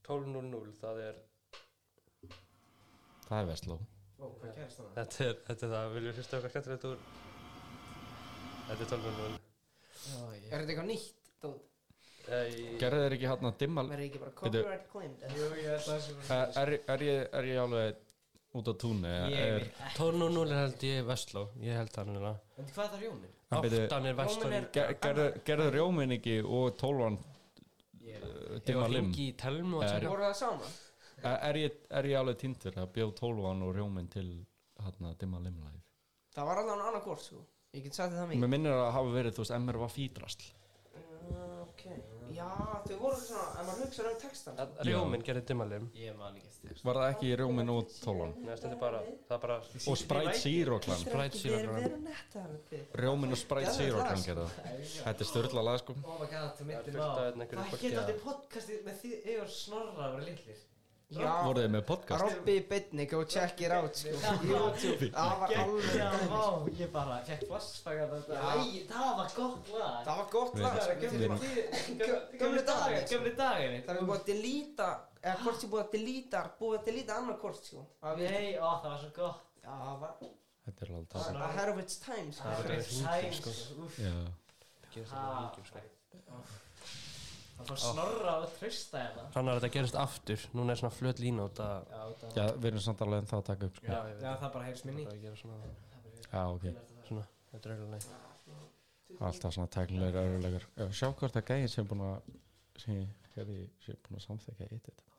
Speaker 4: 12.00 það er
Speaker 3: Það er Vestló
Speaker 1: Ó, hvað gerist þannig?
Speaker 4: Þetta er, þetta er það Viljum við hlusta okkar skemmtilegt úr Þetta er 12.00
Speaker 2: Er þetta eitthvað nýtt? Dót?
Speaker 4: Nei,
Speaker 3: Gerðu þeir ekki hann að dimma
Speaker 2: Verður ekki bara
Speaker 3: Bíddu.
Speaker 2: copyright claimed? eða?
Speaker 1: Jú, ég held að það
Speaker 3: er, er, er, ég, er ég alveg út á túnu?
Speaker 1: sé Ég
Speaker 3: er,
Speaker 1: veit ekki.
Speaker 4: 12.00 er held ég Vesla Ég held það nefnilega
Speaker 1: En hvað er það rjónin?
Speaker 3: Hann byrju-
Speaker 4: Áttan er Vesla
Speaker 3: Ger- gerðu, gerðu rjómin ekki og tólvan uh, dimma lim Eh,
Speaker 4: Ringi í telmu og
Speaker 3: Er-
Speaker 4: tjekka
Speaker 2: Voru það saman?
Speaker 3: er, er, ég, er ég alveg tindur að bjóð tólvan og rjómin til hann að dimma lim live?
Speaker 2: Það var allavega annað hvort sko Ég get sagt þér það mikið
Speaker 1: Mm.
Speaker 3: Mér minnir að hafa verið, þú veist, MR var fítrasl
Speaker 2: Já, ok Já, þau voru svona, ef maður hugsa um textan sko.
Speaker 4: Rjómin gerði dimmalim
Speaker 1: Ég man ekki eftir
Speaker 3: Var það ekki rjómin og tólvan?
Speaker 4: Nei, þetta er bara, það er bara
Speaker 3: Og Sprite Zero klan
Speaker 4: Sprite Zero
Speaker 2: Þeir
Speaker 4: Run.
Speaker 2: veru nettar Þetta
Speaker 3: Rjómin og Sprite
Speaker 2: Geðveikt
Speaker 3: Zero
Speaker 2: lag,
Speaker 3: klan
Speaker 2: sko.
Speaker 3: gerða Þetta er störla lag sko
Speaker 1: Oh my god, þú
Speaker 4: Það er
Speaker 1: myndir
Speaker 4: fullt af
Speaker 1: má
Speaker 4: hérna einhverju
Speaker 1: Hvað
Speaker 4: fólki
Speaker 1: geta
Speaker 4: að-
Speaker 1: þetta podcastið með því Ég var snorra að vera litlir
Speaker 2: Já,
Speaker 3: Voruð þið með podcast?
Speaker 2: Robby Bitnik og check it out sko YouTube, það var alveg
Speaker 1: Já,
Speaker 2: dæmi, sko.
Speaker 1: vá, ég bara fekk flashbackar þetta
Speaker 2: Já.
Speaker 1: Æ, það var gott lag
Speaker 2: Það var gott lag
Speaker 1: Það
Speaker 2: sko.
Speaker 1: er gömlu
Speaker 3: Við-
Speaker 1: tí-
Speaker 2: Gömlu
Speaker 1: gömlu- Gömlu
Speaker 2: dagar,
Speaker 1: dagar,
Speaker 2: sko.
Speaker 1: gömlu dagar
Speaker 2: Það er búið að delíta eða hvort ég búið að delíta búið að delíta annað hvort sko Það við-
Speaker 1: Nei, ó, það var svo gott
Speaker 2: Já, það var
Speaker 3: Þetta er alveg
Speaker 2: það
Speaker 3: það
Speaker 2: var ahead of its time sko
Speaker 1: Það var sæns Úff,
Speaker 3: Já
Speaker 1: það
Speaker 4: sko.
Speaker 1: Það fór snorra að trösta hérna
Speaker 4: Þannig að þetta gerist aftur, núna er svona flöt lína og það
Speaker 1: Já, það-
Speaker 3: Já, við erum samt alveg en það að taka upp sko.
Speaker 4: Já,
Speaker 3: Já,
Speaker 4: ég veit
Speaker 1: Já, það bara heyrðis minni
Speaker 4: það er að gera svona,
Speaker 3: ok,
Speaker 4: svona, þetta er auðvitað leið
Speaker 3: alltaf svona tæknilegur örulegur Sjá hvort að gæðin sem búin að sem ég hefði sem búin að samþekja eitt þetta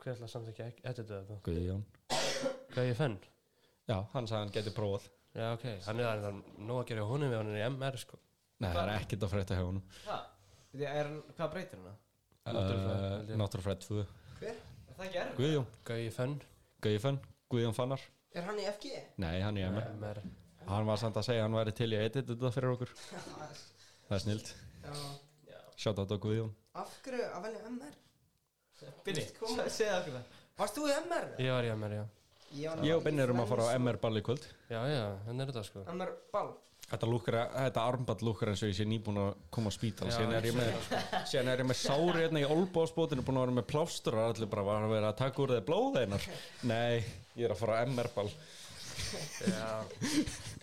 Speaker 4: Hver ætla samt ekki ekki, þetta er þetta
Speaker 3: Guðjón
Speaker 4: Hvað er ég fenn?
Speaker 3: Já, hann sagði hann getur prófað
Speaker 4: Já, ok, hann er það nóg að gera hjá honum ef hann er í MR, sko
Speaker 3: Nei, það er ekkert að frétta hjá honum
Speaker 1: Veitu, er hann- Hvað breytir hann það?
Speaker 4: Náttúrufræði, held ég.
Speaker 3: Náttúrufræð 2
Speaker 1: Er það ekki erfið?
Speaker 3: Eh, Guðjón,
Speaker 4: Hvað er ég fenn?
Speaker 3: Guðjón, Guðjón Fannar
Speaker 2: Er hann í FG?
Speaker 3: Nei, hann er hjá
Speaker 4: MR
Speaker 3: Hann var samt að segja að hann væri til í eitt þetta fyrir okkur Það er snilt
Speaker 2: Já
Speaker 3: Sjátt á þetta Guðjón
Speaker 2: Af hverju að velja MR?
Speaker 1: Binni, segja okkur það
Speaker 2: Varst þú í MR?
Speaker 4: Ég var í MR, já
Speaker 2: var
Speaker 3: Ég og
Speaker 2: náttúrulega
Speaker 3: Benni erum að fara á
Speaker 2: í
Speaker 3: MR ball í kvöld
Speaker 4: Já, já, hann er þetta, sko
Speaker 2: Flensu. MR ball
Speaker 3: Þetta, lúkkar, þetta armband lúkkar eins og ég sé nýbúin að koma á spítal
Speaker 4: Já,
Speaker 3: síðan er ég
Speaker 4: ég sko.
Speaker 3: með, síðan er ég með sári hérna í olbóðspótinu búin að vera með plástur og allir bara var að vera að taka úr þeir blóðeinar Nei, ég er að fara á MR-ball
Speaker 4: Já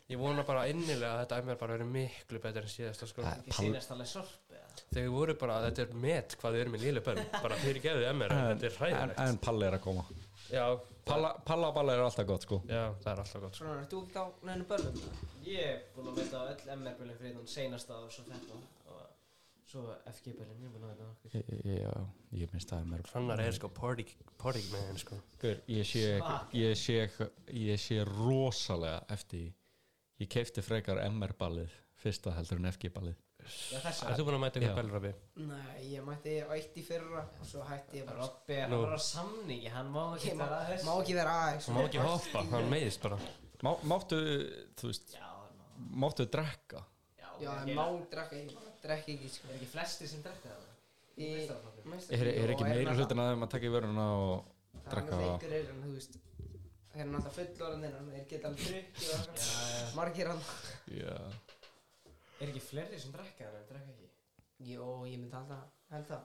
Speaker 4: Ég vona bara innilega að þetta MR bara verið miklu betur en síðasta, sko
Speaker 1: Ekki sínast alveg sorp eða
Speaker 4: Þegar voru bara, þetta er met hvað þau eru með lélu bönn Bara fyrir gefðu MR, þetta er
Speaker 3: en,
Speaker 4: hræðilegt
Speaker 3: en Palli er að koma
Speaker 4: Já,
Speaker 3: Palla, Pallaball er alltaf gott sko
Speaker 4: já, það er alltaf gott, sko
Speaker 2: Svona, þú ekki á neinu böllum
Speaker 1: Ég er búinn að mæta á öll MR-bölinn fyrir þann seinasta og svo þetta og svo FG-bölinn, ég er búinn að mæta á okkur
Speaker 3: Já, ég minnst það MR
Speaker 4: Hrannar er sko party, party með henn, sko
Speaker 3: Hver, ég sé, ég sé ég sé rosalega eftir því. ég keipti frekar MR-ballið fyrsta heldur en FG-ballið
Speaker 1: Já, þessa
Speaker 4: Er þú búin að mæta
Speaker 3: Já.
Speaker 4: ykkur bælrabi?
Speaker 2: Nei, ég mætti á eitt í fyrra og svo hætti ég bara
Speaker 1: Robby, hann
Speaker 4: Nú.
Speaker 1: var á samningi, hann má ekki
Speaker 2: Ég má,
Speaker 1: vera að
Speaker 2: má
Speaker 1: þessu
Speaker 2: ekki vera aðeins
Speaker 4: Hann má ekki hoppa, hann meiðist bara
Speaker 3: Má, Máttu, þú veist,
Speaker 1: Já, hann má
Speaker 3: máttu drekka
Speaker 1: Já,
Speaker 2: Já,
Speaker 1: ok,
Speaker 2: ég
Speaker 1: er-
Speaker 2: má drekka, ég bara drekka ekki sko
Speaker 1: Er ekki flestir sem drekka það?
Speaker 2: Ég-
Speaker 1: meistaraflokkur.
Speaker 2: meistar-
Speaker 3: Er, er
Speaker 2: Jó,
Speaker 3: ekki meiri
Speaker 2: það-
Speaker 3: hlutin að þeim að taka í vöruna og
Speaker 2: Það er
Speaker 3: drakka
Speaker 2: náttúrulega
Speaker 3: það?
Speaker 2: einhverjir en þú veist þeir eru náttúrulega fullorðinir en þeir geta alveg drukkið og eitthvað. margir hann
Speaker 3: Já,
Speaker 1: Er ekki fleiri sem drekka þannig, drekka ekki?
Speaker 2: Jó, ég myndi alltaf held það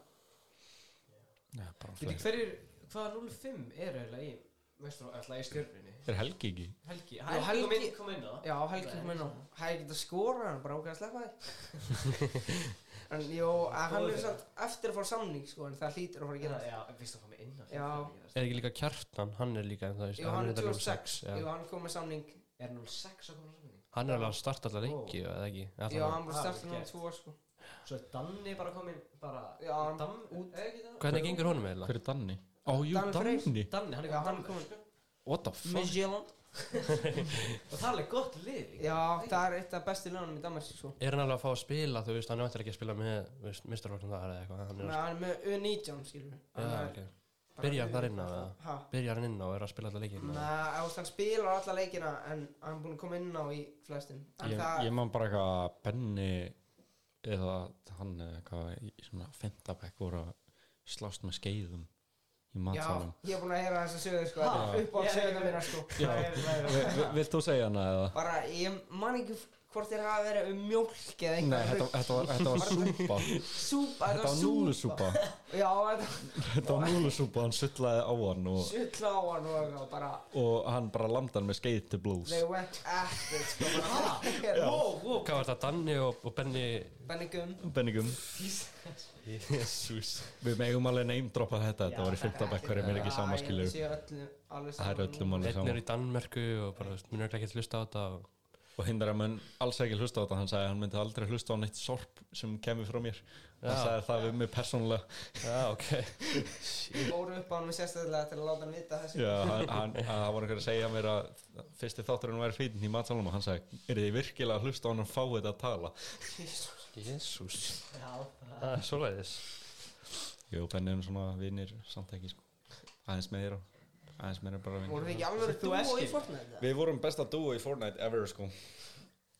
Speaker 3: já bara
Speaker 1: Veitir
Speaker 3: fleiri
Speaker 1: hverjir, hvaða 05 er eiginlega í, veistur, alltaf í stjörninni?
Speaker 3: Er Helgi ekki?
Speaker 1: Helgi,
Speaker 2: Já,
Speaker 1: Helgi,
Speaker 2: Helgi-
Speaker 1: kom inn, kom inn á
Speaker 2: Já, Helgi kom inn á Hæði getað skorað hann, bara ákveða að sleppa því En jó, að hann er samt eftir að fá samning sko, en það hlýtur að fara að
Speaker 1: Já,
Speaker 2: gera
Speaker 1: já, veistu að koma inn á
Speaker 2: Já.
Speaker 4: Er ekki líka kjartan, hann er líka en það
Speaker 2: Jó, hann er 2006
Speaker 4: já.
Speaker 2: Jó, hann kom með samning
Speaker 1: Er 06 að koma saman í?
Speaker 4: Hann er alveg að starta alltaf lengi,
Speaker 1: Ó.
Speaker 4: eða ekki? Alla
Speaker 2: Jó,
Speaker 4: vega.
Speaker 2: hann bara
Speaker 1: það er
Speaker 2: startið hann
Speaker 1: gett.
Speaker 2: tvo sko
Speaker 1: Svo er Danni bara kominn, bara
Speaker 2: Já, hann-
Speaker 1: Dam, út Er ekki það?
Speaker 4: Hvernig gengur honum eiginlega?
Speaker 3: Hver er Danni? Ó, jú,
Speaker 2: Danni Freyr.
Speaker 3: Danni
Speaker 1: Danni, hann sko. er kominn
Speaker 2: Já, hann
Speaker 1: Danni
Speaker 2: kom
Speaker 4: What the fuck?
Speaker 2: Midtjylland
Speaker 1: Og það er alveg gott lið líka.
Speaker 2: Já, það er eitt af bestu lögunum í Danmark sko
Speaker 4: Er hann alveg að fá að spila, þú veist, hann ættir ekki að spila með, þú veist, mistarflokknum þar eða eitthvað, hann
Speaker 2: Nei,
Speaker 4: er
Speaker 2: Hann er með U19 skilur
Speaker 4: Já, ok. Byrjar þar inn á eða?
Speaker 2: Ha?
Speaker 4: Byrjar hann inn á og er að spila alltaf leikinn? eða?
Speaker 2: Nei, ást, hann spilar alla leikina en hann er búin að koma inn á í flestum En
Speaker 3: Ég,
Speaker 2: það,
Speaker 3: ég man bara eitthvað að Benni eða hann eða eitthvað í svona fendabæk voru að slást með skeiðum í
Speaker 2: já,
Speaker 3: matsalum
Speaker 2: ég er búin að heyra þessa sögur sko
Speaker 1: Ha?
Speaker 2: Upp á
Speaker 1: Ég-
Speaker 2: söguna mína sko
Speaker 3: Vilt þú segja hana eða?
Speaker 2: Bara, ég man ekki hvort þér hafa verið um mjólk eða
Speaker 3: Nei,
Speaker 2: einhver
Speaker 3: þetta, þetta, var, þetta var súpa
Speaker 2: Súpa,
Speaker 3: Þetta var núlusúpa
Speaker 2: Já, þetta
Speaker 3: Þetta var núlusúpa, hann sullaði á hann og,
Speaker 2: sulla á hann og eitthvað, bara
Speaker 3: og hann bara landa hann með skeið til blóðs
Speaker 2: They went after it, sko bara,
Speaker 4: Wow, wow. Hvað var þetta, Danni og, og Benny?
Speaker 2: Benningum
Speaker 3: Benningum
Speaker 4: Jesus.
Speaker 3: Við megum alveg neymdroppa þetta, þetta var í fymtabæk hverjum er ekki
Speaker 2: Já,
Speaker 3: samaskilur
Speaker 2: ég sé öllu, alveg
Speaker 3: Það er
Speaker 2: saman
Speaker 3: öllum alveg
Speaker 4: Einn
Speaker 3: saman
Speaker 4: er í Danmerku og bara, þú veist, munur ekki að hlusta á þetta og...
Speaker 3: og hindar að menn alls ekki hlusta á þetta hann sagði að hann myndi aldrei hlusta á neitt sorp sem kemur frá mér hann sagði það við mig persónulega
Speaker 4: Já, ok.
Speaker 2: Ég fór upp á hann með sérstaklega til að láta hann vita þessu
Speaker 3: Já, hann, hann, að það var einhver að segja mér að fyrsti þátturinn væri fítin í matsalum og hann sagði, er þið virkilega að hlusta á hann og fá þetta að tala
Speaker 4: Jesus.
Speaker 1: Já, það
Speaker 4: Það er svoleiðis.
Speaker 3: Jú, Benni er svona vinnir samt ekki sko. aðeins meira aðeins meira bara
Speaker 2: Vorum við
Speaker 3: vinnir
Speaker 2: ekki alveg
Speaker 1: Þú
Speaker 2: dúo í
Speaker 1: eskil.
Speaker 2: Fortnite? eða?
Speaker 3: Við vorum besta dúo í Fortnite ever sko.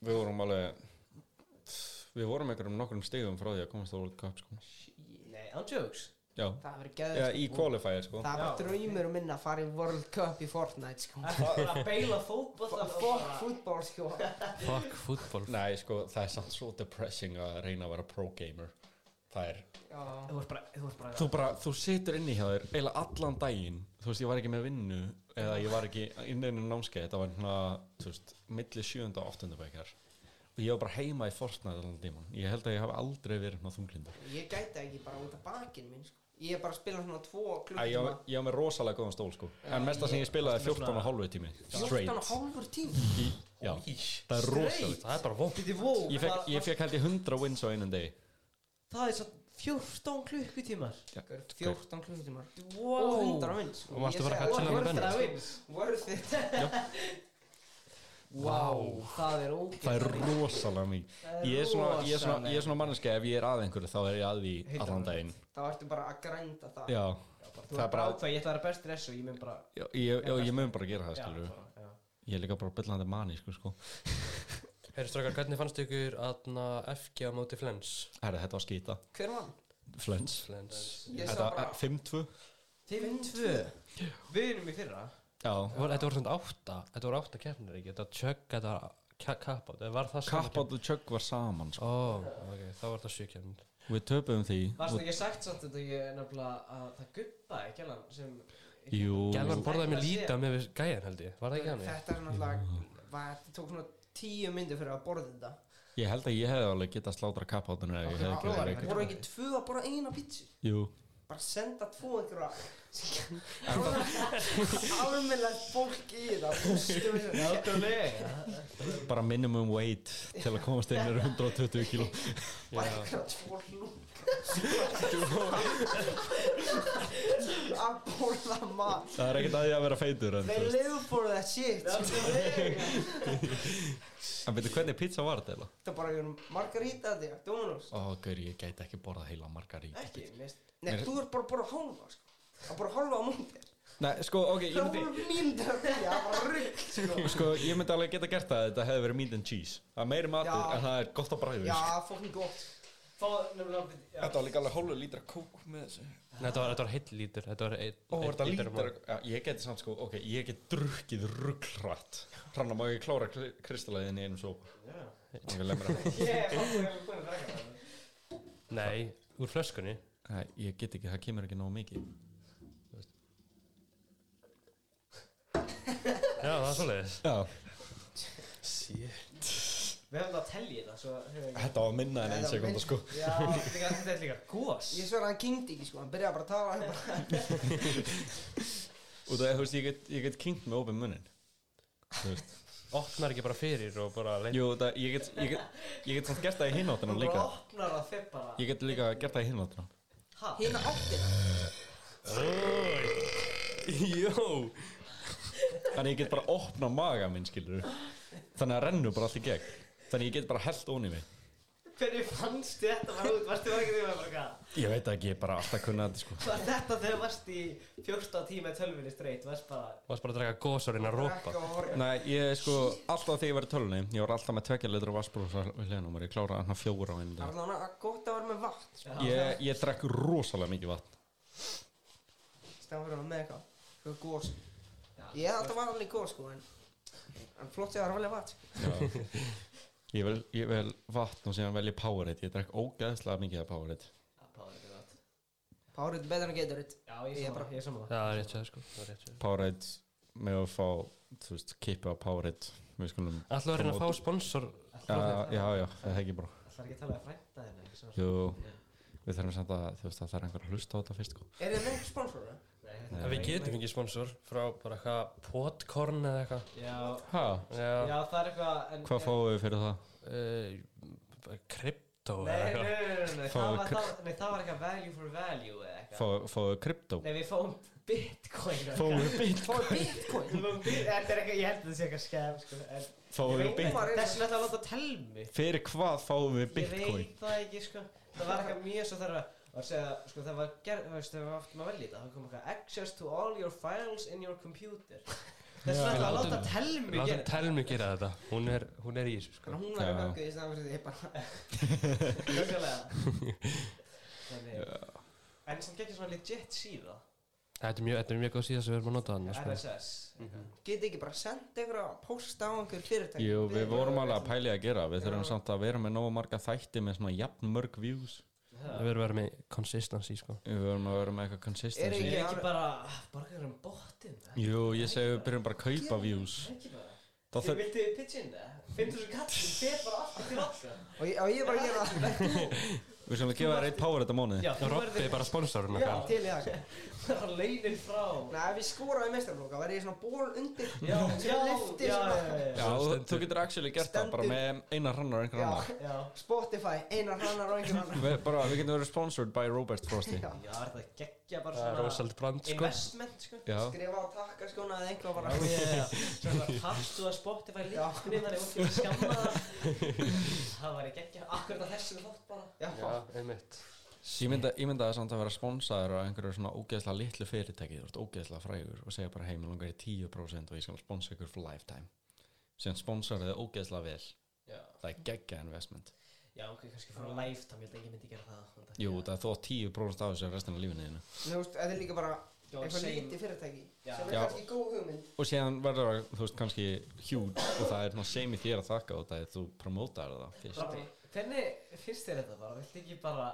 Speaker 3: við vorum alveg við vorum einhverjum nokkrum stigum frá því að komast á World Cup sko.
Speaker 1: Nei, on jokes
Speaker 3: Já,
Speaker 2: Það verið
Speaker 3: Já,
Speaker 2: geður
Speaker 3: í qualifier sko.
Speaker 2: Það er bara
Speaker 1: Já.
Speaker 2: draumur minn að fara í World Cup í Fortnite sko
Speaker 1: Bara að beila fótbollan og
Speaker 2: Fuck
Speaker 1: bara-
Speaker 2: fútból sko
Speaker 4: Fuck, fútból.
Speaker 3: Nei, sko, það er samt svo depressing að reyna að vera pro-gamer Það er
Speaker 2: Já,
Speaker 1: Þú ert bara, þú ert bara
Speaker 3: Þú bara, þú situr inni hjá þér eiginlega allan daginn Þú veist, ég var ekki með vinnu eða ég var ekki inn einu námskeið Þetta var hérna, þú veist, milli sjöunda og áttunda bækjar Og ég var bara heima í Fortnite allan tímann Ég held að ég hafi aldrei verið hérna þunglindur
Speaker 2: Ég gæti ekki bara út af bakinn minn sko Ég er bara að spila svona tvo
Speaker 3: Æ, ég,
Speaker 2: klukkuma
Speaker 3: var- ég var með rosalega góðan stól, sko En mesta sem ég spilaði er 14 og hálfu tími
Speaker 2: 14 og
Speaker 3: Straight
Speaker 2: hálfur tími
Speaker 3: Í- Já, það er rosalegt
Speaker 4: Það er bara vók.
Speaker 1: Býtti, wow,
Speaker 3: Ég fekk, ég fekk held ég 100 wins á einum degi
Speaker 1: Það er svo 14 klukkutímar
Speaker 3: Já,
Speaker 2: 14 klukkutímar Og
Speaker 1: Wow
Speaker 2: 100 vinn sko
Speaker 4: Og varstu
Speaker 2: Ég
Speaker 4: bara
Speaker 2: segi-
Speaker 4: að
Speaker 2: Og
Speaker 4: kalla hann
Speaker 2: worth
Speaker 4: Benni,
Speaker 2: it,
Speaker 4: sko.
Speaker 2: wins. Worth it Wow, það er ógeð
Speaker 3: Það er rosalega mikið Ég er svona, ég er svona, ég er svona manneska ef ég er að einhverju þá er ég að því allan daginn
Speaker 2: Þá ertu bara að grænda það
Speaker 3: Já,
Speaker 1: Þú
Speaker 3: það er
Speaker 1: ert bara
Speaker 3: bara
Speaker 1: ákveð, ég ætla að vera best dress og ég mun bara
Speaker 3: Já, ég, já, ég mun bara gera það
Speaker 1: Já,
Speaker 3: skilur
Speaker 1: bara, já.
Speaker 3: Ég er líka bara byllandi mani sko, sko.
Speaker 4: Herri strákar, hvernig fannst ykkur aðna FG á móti Flens?
Speaker 3: Herra, þetta var skýta
Speaker 2: Hver vann?
Speaker 3: Flens
Speaker 4: Flens.
Speaker 2: Ég sá
Speaker 3: Þetta
Speaker 2: bara
Speaker 3: 5-2
Speaker 1: 5-2 Við erum í fyrra
Speaker 3: Já,
Speaker 4: Vor, þetta voru svona átta, þetta voru átta kernir, ekki? Þetta tjögg, þetta kappátt, eða var það
Speaker 3: Kapp og Chug var saman sko.
Speaker 4: Ó, ok, þá var það sjö kernir.
Speaker 3: Við töpuðum því
Speaker 1: Varst
Speaker 3: og,
Speaker 1: ekki sagt samt þetta ég er nefnilega að það guppaði gælan sem
Speaker 3: Jú,
Speaker 4: Gælan borðaði mér
Speaker 1: Ekki að sé.
Speaker 4: líta með við gæjan held ég, var það ekki hann?
Speaker 2: Þetta er svona alltaf var- Þetta tók svona 10 myndir fyrir að borða þetta
Speaker 3: ég held að ég hefði alveg getað slátra kappáttunum ef ég hefði ekki verið
Speaker 2: Það
Speaker 3: veikur.
Speaker 2: voru ekki tvö að borða eina pítsu
Speaker 3: Jú,
Speaker 2: bara senda tvo einhverja almennilegt fólk í það bústum við þetta.
Speaker 1: Nákvæmlega
Speaker 3: bara minimum weight til að komast inn er 120 kíló
Speaker 2: bara einhverja tvo lúk að borða mat
Speaker 3: Það er ekkert að ég að vera feitur en, þú
Speaker 2: they
Speaker 3: veist.
Speaker 2: live for that shit
Speaker 1: Nákvæmlega
Speaker 3: en veitu hvernig pizza var þetta? eiginlega?
Speaker 2: þetta er bara einhverjum margarita þetta Dominos
Speaker 3: Ó, gaur, ég gæti ekki borðað heila margarín
Speaker 1: Ekki, mist
Speaker 2: nei, þú er bara að borða hálfa sko. að borða hálfa á múndir
Speaker 3: Nei, sko, ok, ég
Speaker 2: það
Speaker 3: myndi
Speaker 2: voru mínir að því að það var rugg sko.
Speaker 3: Sko, ég myndi alveg geta gert það að Þetta hefði verið meat and cheese Það er meiri
Speaker 2: Já.
Speaker 3: matur en það er gott að bræðu
Speaker 2: já, fokkin gott
Speaker 1: Fáðu nefnilega já.
Speaker 3: Þetta var líka alveg hálfur lítra kók með þessu
Speaker 4: Nei, þetta var, þetta var heill lítur Þetta var
Speaker 3: Ó,
Speaker 4: einn
Speaker 3: var þetta
Speaker 4: einn lítur
Speaker 3: lítra
Speaker 4: af-
Speaker 3: ja, Ég geti samt sko, ok, ég get drukkið ruggrætt Hrannar má ég klára kristalæðin í einum sóp Ég vil lemra
Speaker 1: Ég er alveg búin að drekka það
Speaker 4: Nei, úr flöskunni
Speaker 3: Nei, ég get ekki, það kemur ekki nóg mikið
Speaker 4: Já, það er svoleiðis
Speaker 3: Já,
Speaker 1: Við hefum það að telja þetta svo hefur ekki-
Speaker 3: þetta var minna en
Speaker 2: Þetta
Speaker 3: ein
Speaker 2: var
Speaker 3: sekunda
Speaker 2: minna.
Speaker 3: sko
Speaker 1: Já, líka, þetta er líka gos
Speaker 2: Ég sver að hann kynnti ekki sko, hann byrjaði bara að tala hann bara,
Speaker 3: Og það, þú veist, ég get, ég get kynnt með opið munnin Þú veist
Speaker 4: Opnar ekki bara fyrir og bara leita
Speaker 3: Jú, það, ég get, ég get, ég get samt gert það í hináttina
Speaker 1: Hún bara
Speaker 3: líka
Speaker 1: opnar það þeir bara
Speaker 3: Ég get líka gert það í hináttina
Speaker 1: Ha?
Speaker 2: Hina áttina
Speaker 4: Jó
Speaker 3: Þannig ég get bara opna maga minn, skilur Þannig að rennu bara allt í gegn Þannig ég get bara held ón í mig
Speaker 1: Hvernig fannst þið þetta var út? Varstu ekki því að bara hvað?
Speaker 3: Ég veit ekki, ég er bara alltaf kunnað þetta sko
Speaker 1: Var þetta þegar varst í 14 tíma í tölvinni straight? Varst bara
Speaker 4: Varst bara að draka gos og reyna að rópa
Speaker 2: Ekki á horja
Speaker 3: Nei, ég sko, alltaf þegar ég var í tölunni Ég var alltaf með tvekja litra vassbrúsa við hliðanum Ég kláraði hann fjóra á einu dag
Speaker 2: Þannig að gott að vera með vatn sko.
Speaker 3: Ég, ég drekk rosalega mikið vatn
Speaker 2: Stæðan fyrir sko. að vera með eitthvað Sko gos Ég hef alltaf var alveg gos sko En, en flott ég að vera vel vatn sko.
Speaker 3: Ég vel, ég vel vatn og síðan vel ég Powerade Ég drekk ógeðslega mikið af Powerade
Speaker 1: Já, Páður er gott
Speaker 2: Párið betur en getur þitt
Speaker 1: Já, ég er
Speaker 2: bara-
Speaker 1: saman, ég er saman
Speaker 4: Já, það er rétt sér sko Það er rétt sér
Speaker 3: Powerade með að fá, þú veist, kippa Powerade Við skulum
Speaker 4: Alltaf að reyna að fá sponsor
Speaker 3: Já, já, já, það er ekki bara
Speaker 1: Það er ekki að tala að frænta þenni, ekki svona
Speaker 3: Jú, við þurfum samt að, þú veist, að það er einhver að hlusta á þetta fyrst sko
Speaker 2: Er þið með einhver sponsor? eða?
Speaker 1: Nei,
Speaker 4: En Við getum ekki sponsor frá bara eitthvað potkorn eða eitthvað
Speaker 1: Já,
Speaker 3: Hæ?
Speaker 4: Já,
Speaker 1: já, það er eitthvað en-
Speaker 3: Hvað fáum við fyrir það?
Speaker 4: Eh, kryptó
Speaker 1: Nei,
Speaker 4: eða
Speaker 1: nei,
Speaker 4: eitthvað
Speaker 1: nei, nei, nei,
Speaker 3: Fáum
Speaker 1: það var- það
Speaker 3: við
Speaker 1: var- nei, það var eitthvað value for value eða eitthvað
Speaker 3: Fá- Fáum við kryptó?
Speaker 1: Nei, við fáum bitcoin og
Speaker 3: Fáum
Speaker 1: eitthvað.
Speaker 3: við bit?
Speaker 2: Fáið bitcoin
Speaker 1: Við fáum bit- Þetta er eitthvað, ég held að þetta sé eitthvað skæm, sko en-
Speaker 3: Fáum
Speaker 1: Ég
Speaker 3: við
Speaker 1: veit
Speaker 3: bit?
Speaker 1: það, Þess vegna ætla að láta telmi
Speaker 3: Fyrir hvað fáum við
Speaker 1: Ég
Speaker 3: bitcoin?
Speaker 1: veit það ekki sko Það var eitthvað mjög svo þarf að að segja sko það var gerð, þú veist, þegar við áttum að velja þetta þá kom eitthvað access to all your files in your computer Þess vegna ætla að láta telmi
Speaker 4: Látum
Speaker 1: gera
Speaker 4: Telmi gera þetta Hún er, hún er í þessu sko
Speaker 2: En hún var
Speaker 3: Já.
Speaker 2: í möggu í staðan fyrir því Ég bara
Speaker 1: Nákvæmlega Þannig En sem getur svona legit síða
Speaker 4: Þetta er mjög, þetta er mjög góð síðan sem við erum að nota hann sko.
Speaker 1: RSS Mhm.
Speaker 2: Geti ekki bara sendt einhver að posta á einhver fyrirtæk
Speaker 3: Jú, við vorum alveg
Speaker 2: hérna.
Speaker 3: að pæli að gera Við þurfum samt að vera með nógu marga þætti með svona jafn mörg views
Speaker 1: Mhm.
Speaker 4: Við erum að vera með consistency sko
Speaker 3: Við vorum að vera með eitthvað
Speaker 2: Er
Speaker 3: consistency
Speaker 1: Ég
Speaker 2: ekki-
Speaker 1: er ekki bara borgar um botinn
Speaker 3: Jú, ég segi við byrjum bara að kaupa views
Speaker 1: Ekki bara
Speaker 3: Það
Speaker 1: Þið
Speaker 3: þurf
Speaker 1: viltu pitchin það? Finnur svo kallin, þið bara aftur til okkar
Speaker 2: Og ég, og ég hérna bara gera
Speaker 3: Við skulum gefa þér eitt power þetta mánuði
Speaker 1: Já, þú
Speaker 4: Robbi
Speaker 1: verður
Speaker 4: er bara hérna, sponsorinn
Speaker 1: Já.
Speaker 4: okkar
Speaker 2: til í það sko.
Speaker 1: bara launin frá
Speaker 2: Nei, ef ég skoraði mestarflokka Væri ég svona ból undir
Speaker 1: Já, já,
Speaker 2: Lyfti
Speaker 1: já,
Speaker 2: svona-
Speaker 1: já, já,
Speaker 3: Já, þú þú getur actually gert það bara með einar hannar og einhver
Speaker 2: Já.
Speaker 3: annar
Speaker 1: já
Speaker 2: Spotify, einar hannar og einhver hannar
Speaker 3: Við, bara, við getum verið sponsored by Robert Frosty
Speaker 2: Já.
Speaker 1: Já, er þetta geggja bara
Speaker 4: Það er
Speaker 1: svona
Speaker 4: Rosalind Brand sko
Speaker 1: Investment, sko
Speaker 3: Já,
Speaker 2: Skrifa á takka sko, skona eða einhvað bara
Speaker 1: Já, já, já Svona Hattu að Spotify lífni þannig að ég var skamma það Það var í geggja Akkur það þessu þátt bara
Speaker 2: Já,
Speaker 4: einmitt
Speaker 3: ég mynda, ég mynda að samt að vera sponsaður á einhverju svona ógeðslega litlu fyrirtæki þú ert ógeðslega frægur og segja bara heim og langar í 10% og ég skal sponsa ykkur for lifetime síðan sponsaðu þið ógeðslega vel
Speaker 1: Já,
Speaker 3: það er geggja investment
Speaker 1: já, ok, kannski fyrir lifetime, ég held að ég myndi gera það
Speaker 3: Jú, það er þó 10% af þessu restina af lífinu þínu
Speaker 2: Þú veist, þetta er líka bara
Speaker 1: Já,
Speaker 2: Eitthvað
Speaker 1: same.
Speaker 2: lítið fyrirtæki
Speaker 1: Já.
Speaker 2: Sem er
Speaker 3: Já.
Speaker 2: kannski góð hugmynd
Speaker 3: og síðan verður það, þú veist, kannski huge og það er svona same í þér að þakka og það er þú promótar það fyrst
Speaker 1: Rafni, hvernig finnst þér þetta bara? Viltu ekki bara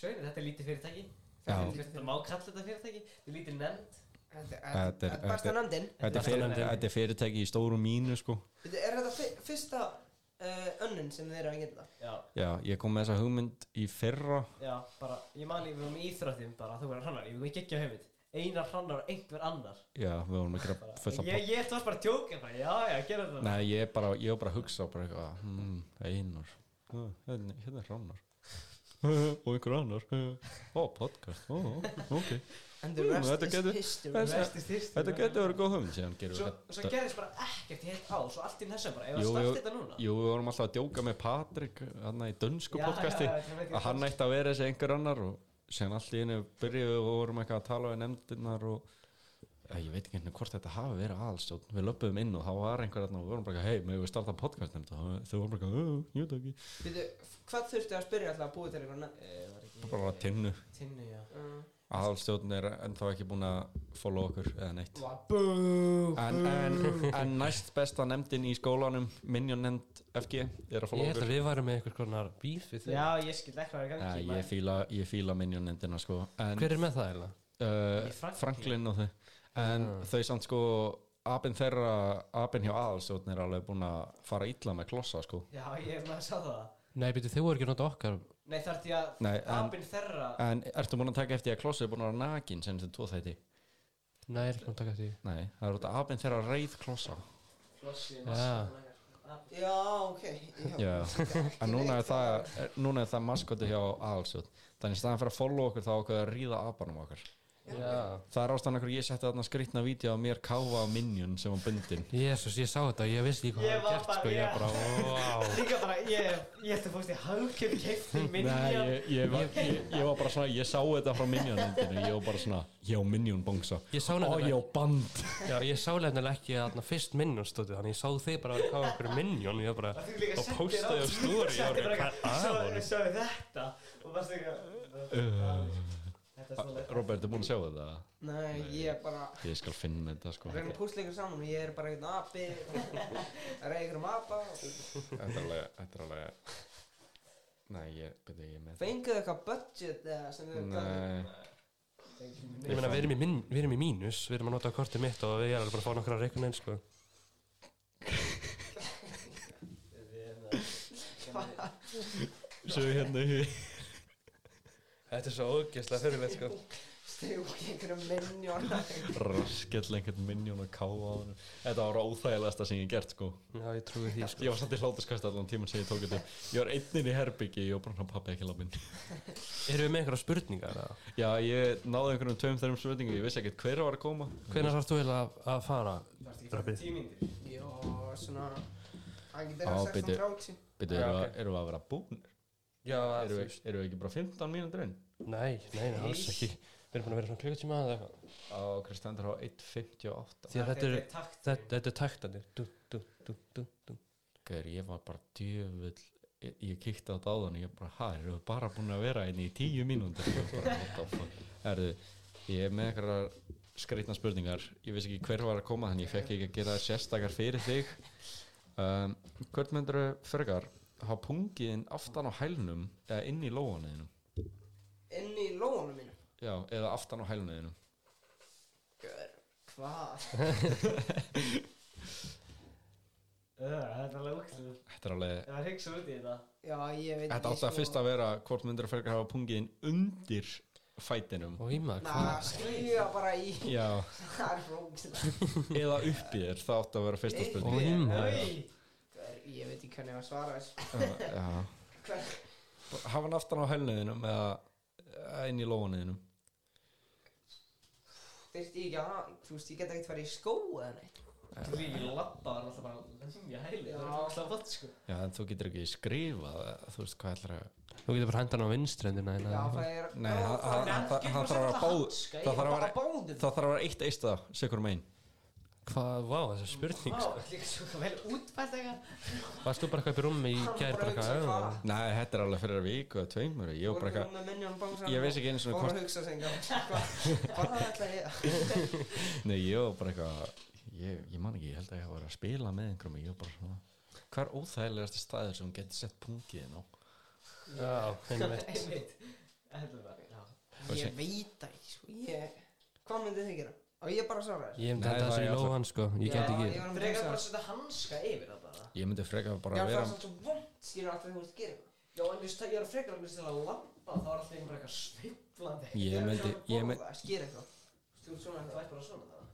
Speaker 1: Sveinu, þetta er lítið fyrirtæki
Speaker 3: Já.
Speaker 1: Það má kalla þetta fyrirtæki Þetta er lítið nefnd
Speaker 2: Þetta er-
Speaker 3: Þetta er-
Speaker 2: þetta er besta
Speaker 3: þetta er-
Speaker 2: nöndin
Speaker 3: Þetta er, fyrir, þetta er fyrirtæki í stóru mínu sko
Speaker 2: Er þetta fyr- fyrsta uh, önnun sem þeir eru að geta?
Speaker 1: Já,
Speaker 3: Já, ég kom með þessa hugmynd í fyrra
Speaker 1: já, bara Ég mani, við vorum í íþróttum bara Þú verður hannar, ég vil ekki ekki hugmynd Einar hannar og einhver annar
Speaker 3: Já, við vorum ekki að
Speaker 1: Bara,
Speaker 3: gera fulla
Speaker 1: Ég, ég ætla bara að tjóka bara, já, já, gera þetta
Speaker 3: Nei, ég er bara, ég er bara að hugsa bara eitthvað, hmm, einar, uh, hérna hérna er rannar og einhver annar, uh, ó, podcast, ó, ok,
Speaker 2: And the
Speaker 3: Mm,
Speaker 2: rest
Speaker 3: þetta
Speaker 2: is
Speaker 3: getur-
Speaker 2: history
Speaker 3: þetta-
Speaker 1: Rest is history.
Speaker 3: þetta getur verið góð hugmynd síðan
Speaker 1: hérna.
Speaker 3: gerum
Speaker 1: Svo,
Speaker 3: við
Speaker 1: svo
Speaker 3: þetta.
Speaker 1: gerðist bara ekkert í heilt ás og allt í þessum bara, ef að
Speaker 3: Jú,
Speaker 1: starta
Speaker 3: jú,
Speaker 1: þetta núna
Speaker 3: jú, við vorum alltaf að djóka með Patrik, hann í dönsku
Speaker 1: Já,
Speaker 3: sko podcasti,
Speaker 1: já, já, þetta er mikið
Speaker 3: að hann ætti að vera þessi einhver annar og síðan allt í einu byrjuðu og vorum eitthvað að tala við nefndirnar og að ég veit ekki hvernig hvort þetta hafi verið aðalstjórn við löpum inn og það var einhver þarna og við vorum bara hei, með við starta podcast nefnd og þau vorum bara, "Ú, jú, takk ég."
Speaker 2: Býtu, hvað þurfti að spyrja alltaf að búi til eitthvað nafn?
Speaker 1: Eh, var ekki
Speaker 3: bara tinnu
Speaker 1: tinnu, já
Speaker 2: Uh,
Speaker 3: aðalstjórn er ennþá ekki búin að follow okkur eða neitt
Speaker 2: Bú
Speaker 3: en, en, en næst besta nefndin í skólanum Minion nefnd FG er að
Speaker 4: Ég
Speaker 3: follow
Speaker 4: held að
Speaker 3: okkur
Speaker 4: við varum með einhvers konar bíf við þau.
Speaker 1: já, ég skil ekki hvað er í
Speaker 3: ja,
Speaker 1: gangi
Speaker 3: ég,
Speaker 1: maður.
Speaker 3: fíla, ég fíla Minion nefndina sko en,
Speaker 4: Hver er með það eiginlega?
Speaker 3: uh,
Speaker 1: Í Franklin.
Speaker 3: Franklin og þau en þau samt sko apinn þeirra, apinn hjá aðalstjórn er alveg búin að fara illa með klossa sko
Speaker 1: já, ég maður sá það
Speaker 4: Nei, byrju, þau voru ekki að nota okkar.
Speaker 1: nei, þarf því að
Speaker 3: Nei, en-
Speaker 1: apinn þeirra
Speaker 3: en ertu búin að taka eftir að klossa er búin að vera nakin sem þetta tvo þætti
Speaker 4: Nei, ég er ekki búin að taka því.
Speaker 3: nei, það er út að apinn þeirra reið klossa
Speaker 1: flossi
Speaker 4: Já,
Speaker 2: Já, ok
Speaker 3: já, en núna er það núna er það maskoti hjá aðalstjórn þannig staðan fyrir að follow okkur þá okkur að ríða apanum okkar
Speaker 4: já.
Speaker 3: það er ástæðan okkur ég setti þarna skrýtna vídeo af mér káfa á Minion sem var bundin
Speaker 4: Jésús, ég sá þetta og ég vissi ekki hvað
Speaker 1: Ég
Speaker 4: það var
Speaker 1: var bara-
Speaker 4: gert, sko. Ég
Speaker 1: já.
Speaker 4: var bara, wow.
Speaker 1: líka bara, ég, ég ætti að fókst í hálfkjöf kefti
Speaker 3: Nei,
Speaker 1: minja
Speaker 3: ég, ég, var, ég, ég var bara svona, ég sá þetta frá Minion-endinu, ég var bara svona, ég á Minion-bongsa.
Speaker 4: Ég sá
Speaker 3: Ó, ég
Speaker 4: nefnilega,
Speaker 3: á band.
Speaker 4: já, ég sá nefnilega ekki að þarna fyrst Minion stóti, þannig ég sá þið bara að vera hvað okkur Minion, ég var bara,
Speaker 1: þú líka
Speaker 4: og
Speaker 1: sendir
Speaker 4: postaði á
Speaker 1: allt-
Speaker 4: stóri, ég
Speaker 1: Þetta
Speaker 4: var
Speaker 1: er
Speaker 4: bara,
Speaker 1: bara eitthvað,
Speaker 4: hvað er að honum?
Speaker 1: sjáðu þetta og varstu eitthvað þetta er svona
Speaker 3: Robert, er búin að sjá þetta?
Speaker 2: Nei, ég bara
Speaker 3: Ég skal finna þetta, sko.
Speaker 2: Við erum púsleikur saman og ég er bara eitthvað api Það er eitthvað um apa
Speaker 3: Þetta er alveg, þetta er alveg... Nei, ég, byrja, ég er með
Speaker 2: Fenguðu eitthvað budget eða sem þið
Speaker 3: Nei,
Speaker 4: Ég meina, við erum, í min, við erum í mínus, við erum að nota kortið mitt og við erum alveg bara að fá nokkra reikun einn, sko.
Speaker 3: svo hérna í...
Speaker 4: Þetta er svo ógeðslega fyrirlega, sko.
Speaker 2: Stegu ekki einhverjum minjón
Speaker 3: Raskell einhvern Minion að káfa á hann. Þetta var óþægilegasta sem ég hef gert, sko.
Speaker 4: Já, ég trúi því, sko.
Speaker 3: Ég var samt í hlátuskast allan tíman sem ég tók þetta. upp. Ég var einnin í herbyggi, ég var bara hann pappi ekki láminn.
Speaker 4: Erum við með einhverja spurningar, eða?
Speaker 3: Já, ég náði einhverjum tveim þeirrum spurningum, ég vissi ekkert hver var að koma.
Speaker 4: Hvenær þarfst þú eiginlega að- að fara? Rappið.
Speaker 1: tímindir
Speaker 2: Já, svona Hann getur
Speaker 3: Á,
Speaker 2: að
Speaker 3: bíddu.
Speaker 2: 16.30
Speaker 3: Býtu,
Speaker 4: Já,
Speaker 3: erum,
Speaker 4: ok.
Speaker 3: okay. erum við að vera búnir?
Speaker 4: Já,
Speaker 3: Erum við, erum við ekki bara 15 mínútur inn?
Speaker 4: Nei, nei, nei, alls ekki. Við erum búin að vera svona klukkutíma eða eitthvað.
Speaker 3: Á Kristjandur á 1.58
Speaker 4: Því að þetta eru,
Speaker 1: takt
Speaker 4: þetta, þetta er taktandi. Du, du, du, du, du.
Speaker 3: Gauður, ég var bara djöfull Ég, ég kíkti á þetta áðan og ég bara, hæ, erum við bara búin að vera inn í 10 mínútur? Ég bara, what the fuck? Herðu, ég er með einhverjar skreitna spurningar Ég vissi ekki hver var að koma þannig ég fekk ekki að gera þær sérstakar fyrir þig um, Hvern myndur frekar hafa pungiðin aftan á hælnum eða inn í lóanuðinu?
Speaker 2: Inn í lónum mínum
Speaker 3: Já, eða aftan á hælnuðinu
Speaker 2: Gör, hvað?
Speaker 1: þetta er alveg úkslu
Speaker 3: Þetta er alveg
Speaker 1: það var hugsa út í þetta
Speaker 2: Já, ég veit
Speaker 3: Þetta átti að fyrst að vera hvort myndir að frekar hafa pungiðin undir fætinum
Speaker 4: Og íma,
Speaker 2: Na,
Speaker 4: hvað?
Speaker 2: skrifa bara í
Speaker 3: Já,
Speaker 2: Það er rókislega
Speaker 3: eða upp í þér, það átti að vera fyrsta
Speaker 4: Og
Speaker 3: spurning
Speaker 4: íma.
Speaker 2: Ég veit ekki hvernig ég var að svara þessu
Speaker 3: Já. Hafa hann aftan á hælniðinum eða eða inn í lóaniðinum
Speaker 2: Þyrfti ég ekki að hafa Þú veist, ég get ekkert farið í skó eða neitt
Speaker 1: því ég lappa var alltaf bara lemja hæli það var alltaf vott sko
Speaker 3: Já, en þú getur ekki skrifað eða þú veist hvað ætlar að
Speaker 4: Þú getur bara hendan á vinstrendina
Speaker 2: Já,
Speaker 4: þína.
Speaker 2: það er
Speaker 3: Nei,
Speaker 2: Já,
Speaker 3: það
Speaker 2: það er-
Speaker 3: það- það þarf að vera báð
Speaker 1: hanska,
Speaker 3: það þarf að
Speaker 2: bara
Speaker 3: vera-
Speaker 2: báðum
Speaker 3: það þarf að vera eitt eista um sikur megin
Speaker 4: Hvað, vá, þessi spurning,
Speaker 1: Vá,
Speaker 4: sko.
Speaker 1: líka svo vel útfælt eitthvað
Speaker 4: Varst þú bara eitthvað upp í rúmi í
Speaker 2: Hann
Speaker 4: gær
Speaker 2: bara
Speaker 4: bara
Speaker 2: hugsa
Speaker 4: eitthvað?
Speaker 2: hvað?
Speaker 4: "Ah,
Speaker 3: Nei, þetta er alveg fyrir viku eða tveimur Ég var bara eitthvað
Speaker 2: eitthvað
Speaker 3: Ég veist ekki einu
Speaker 2: Fór
Speaker 3: svona hvort
Speaker 2: að hugsa sem Hvað ætla ég að
Speaker 3: Nei, ég var bara eitthvað ég, ég man ekki, ég held að ég hafa verið að spila með einhverjum og ég var bara svona Hvað er óþægilegasti staður sem hún getur sett pungiðin á?
Speaker 4: Já, einmitt.
Speaker 1: einmitt þetta var já
Speaker 2: Ég veit það ekki sko ég... Hvað myndið þið gera? Og ég bara svara þér
Speaker 4: Ég myndi
Speaker 3: Nei,
Speaker 4: henda
Speaker 3: það
Speaker 4: þessu í
Speaker 3: er alltaf-
Speaker 4: lóan, sko. Ég
Speaker 2: Já,
Speaker 4: get
Speaker 2: ég var
Speaker 4: ekki.
Speaker 2: að
Speaker 1: Frekar bara
Speaker 2: hugsa það.
Speaker 1: að setja hanska yfir það bara
Speaker 3: Ég myndi frekar bara
Speaker 2: Já,
Speaker 3: að
Speaker 2: það
Speaker 3: vera
Speaker 2: er svo vond Skilur alltaf þú veist gera það
Speaker 1: Já, en þú veist, ég er frekar að mista til að lappa þá er alltaf einhver eitthvað sviflandi
Speaker 3: Ég myndi, ég myndi
Speaker 2: Það skýr eitthvað
Speaker 1: Þú ert svona, þú ert bara svona það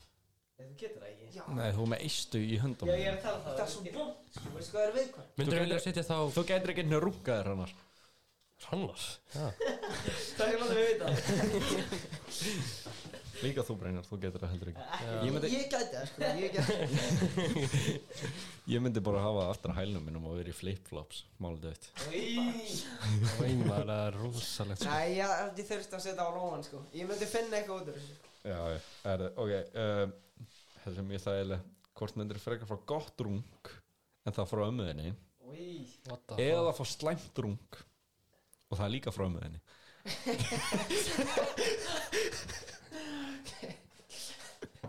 Speaker 1: Ef þú getur það ekki
Speaker 2: Já,
Speaker 3: Nei, þú er með eistu í höndum
Speaker 1: Já, ég er að tala um það
Speaker 2: það er svo vond Sko, veist hvað er viðkvæm?
Speaker 4: Myndur
Speaker 3: Þú
Speaker 4: þú vilja setja þá...
Speaker 3: Þú getur ekki henni að runga þér hannar
Speaker 4: Rannars? Já.
Speaker 1: Það er alveg við það
Speaker 3: Líka þú breinar, þú getur það heldur ekki Ég myndi,
Speaker 2: Ég gæti það sko Ég gæti það
Speaker 3: ég myndi bara hafa það aftur á hælnum minnum og verið í flip-flops Málið auðvitt
Speaker 4: Og íma, það er rosalegt, sko.
Speaker 2: Nei, ég held ég þurfti að setja á róan sko Ég myndi sko. finna eitthvað út úr þessu
Speaker 3: já, já, er, ok um, það sem ég þægilega hvort myndir frekar frá gott rung en það frá ömmuðinni
Speaker 4: What the
Speaker 3: eða frá slæmt rung og það er líka frá ömmuðinni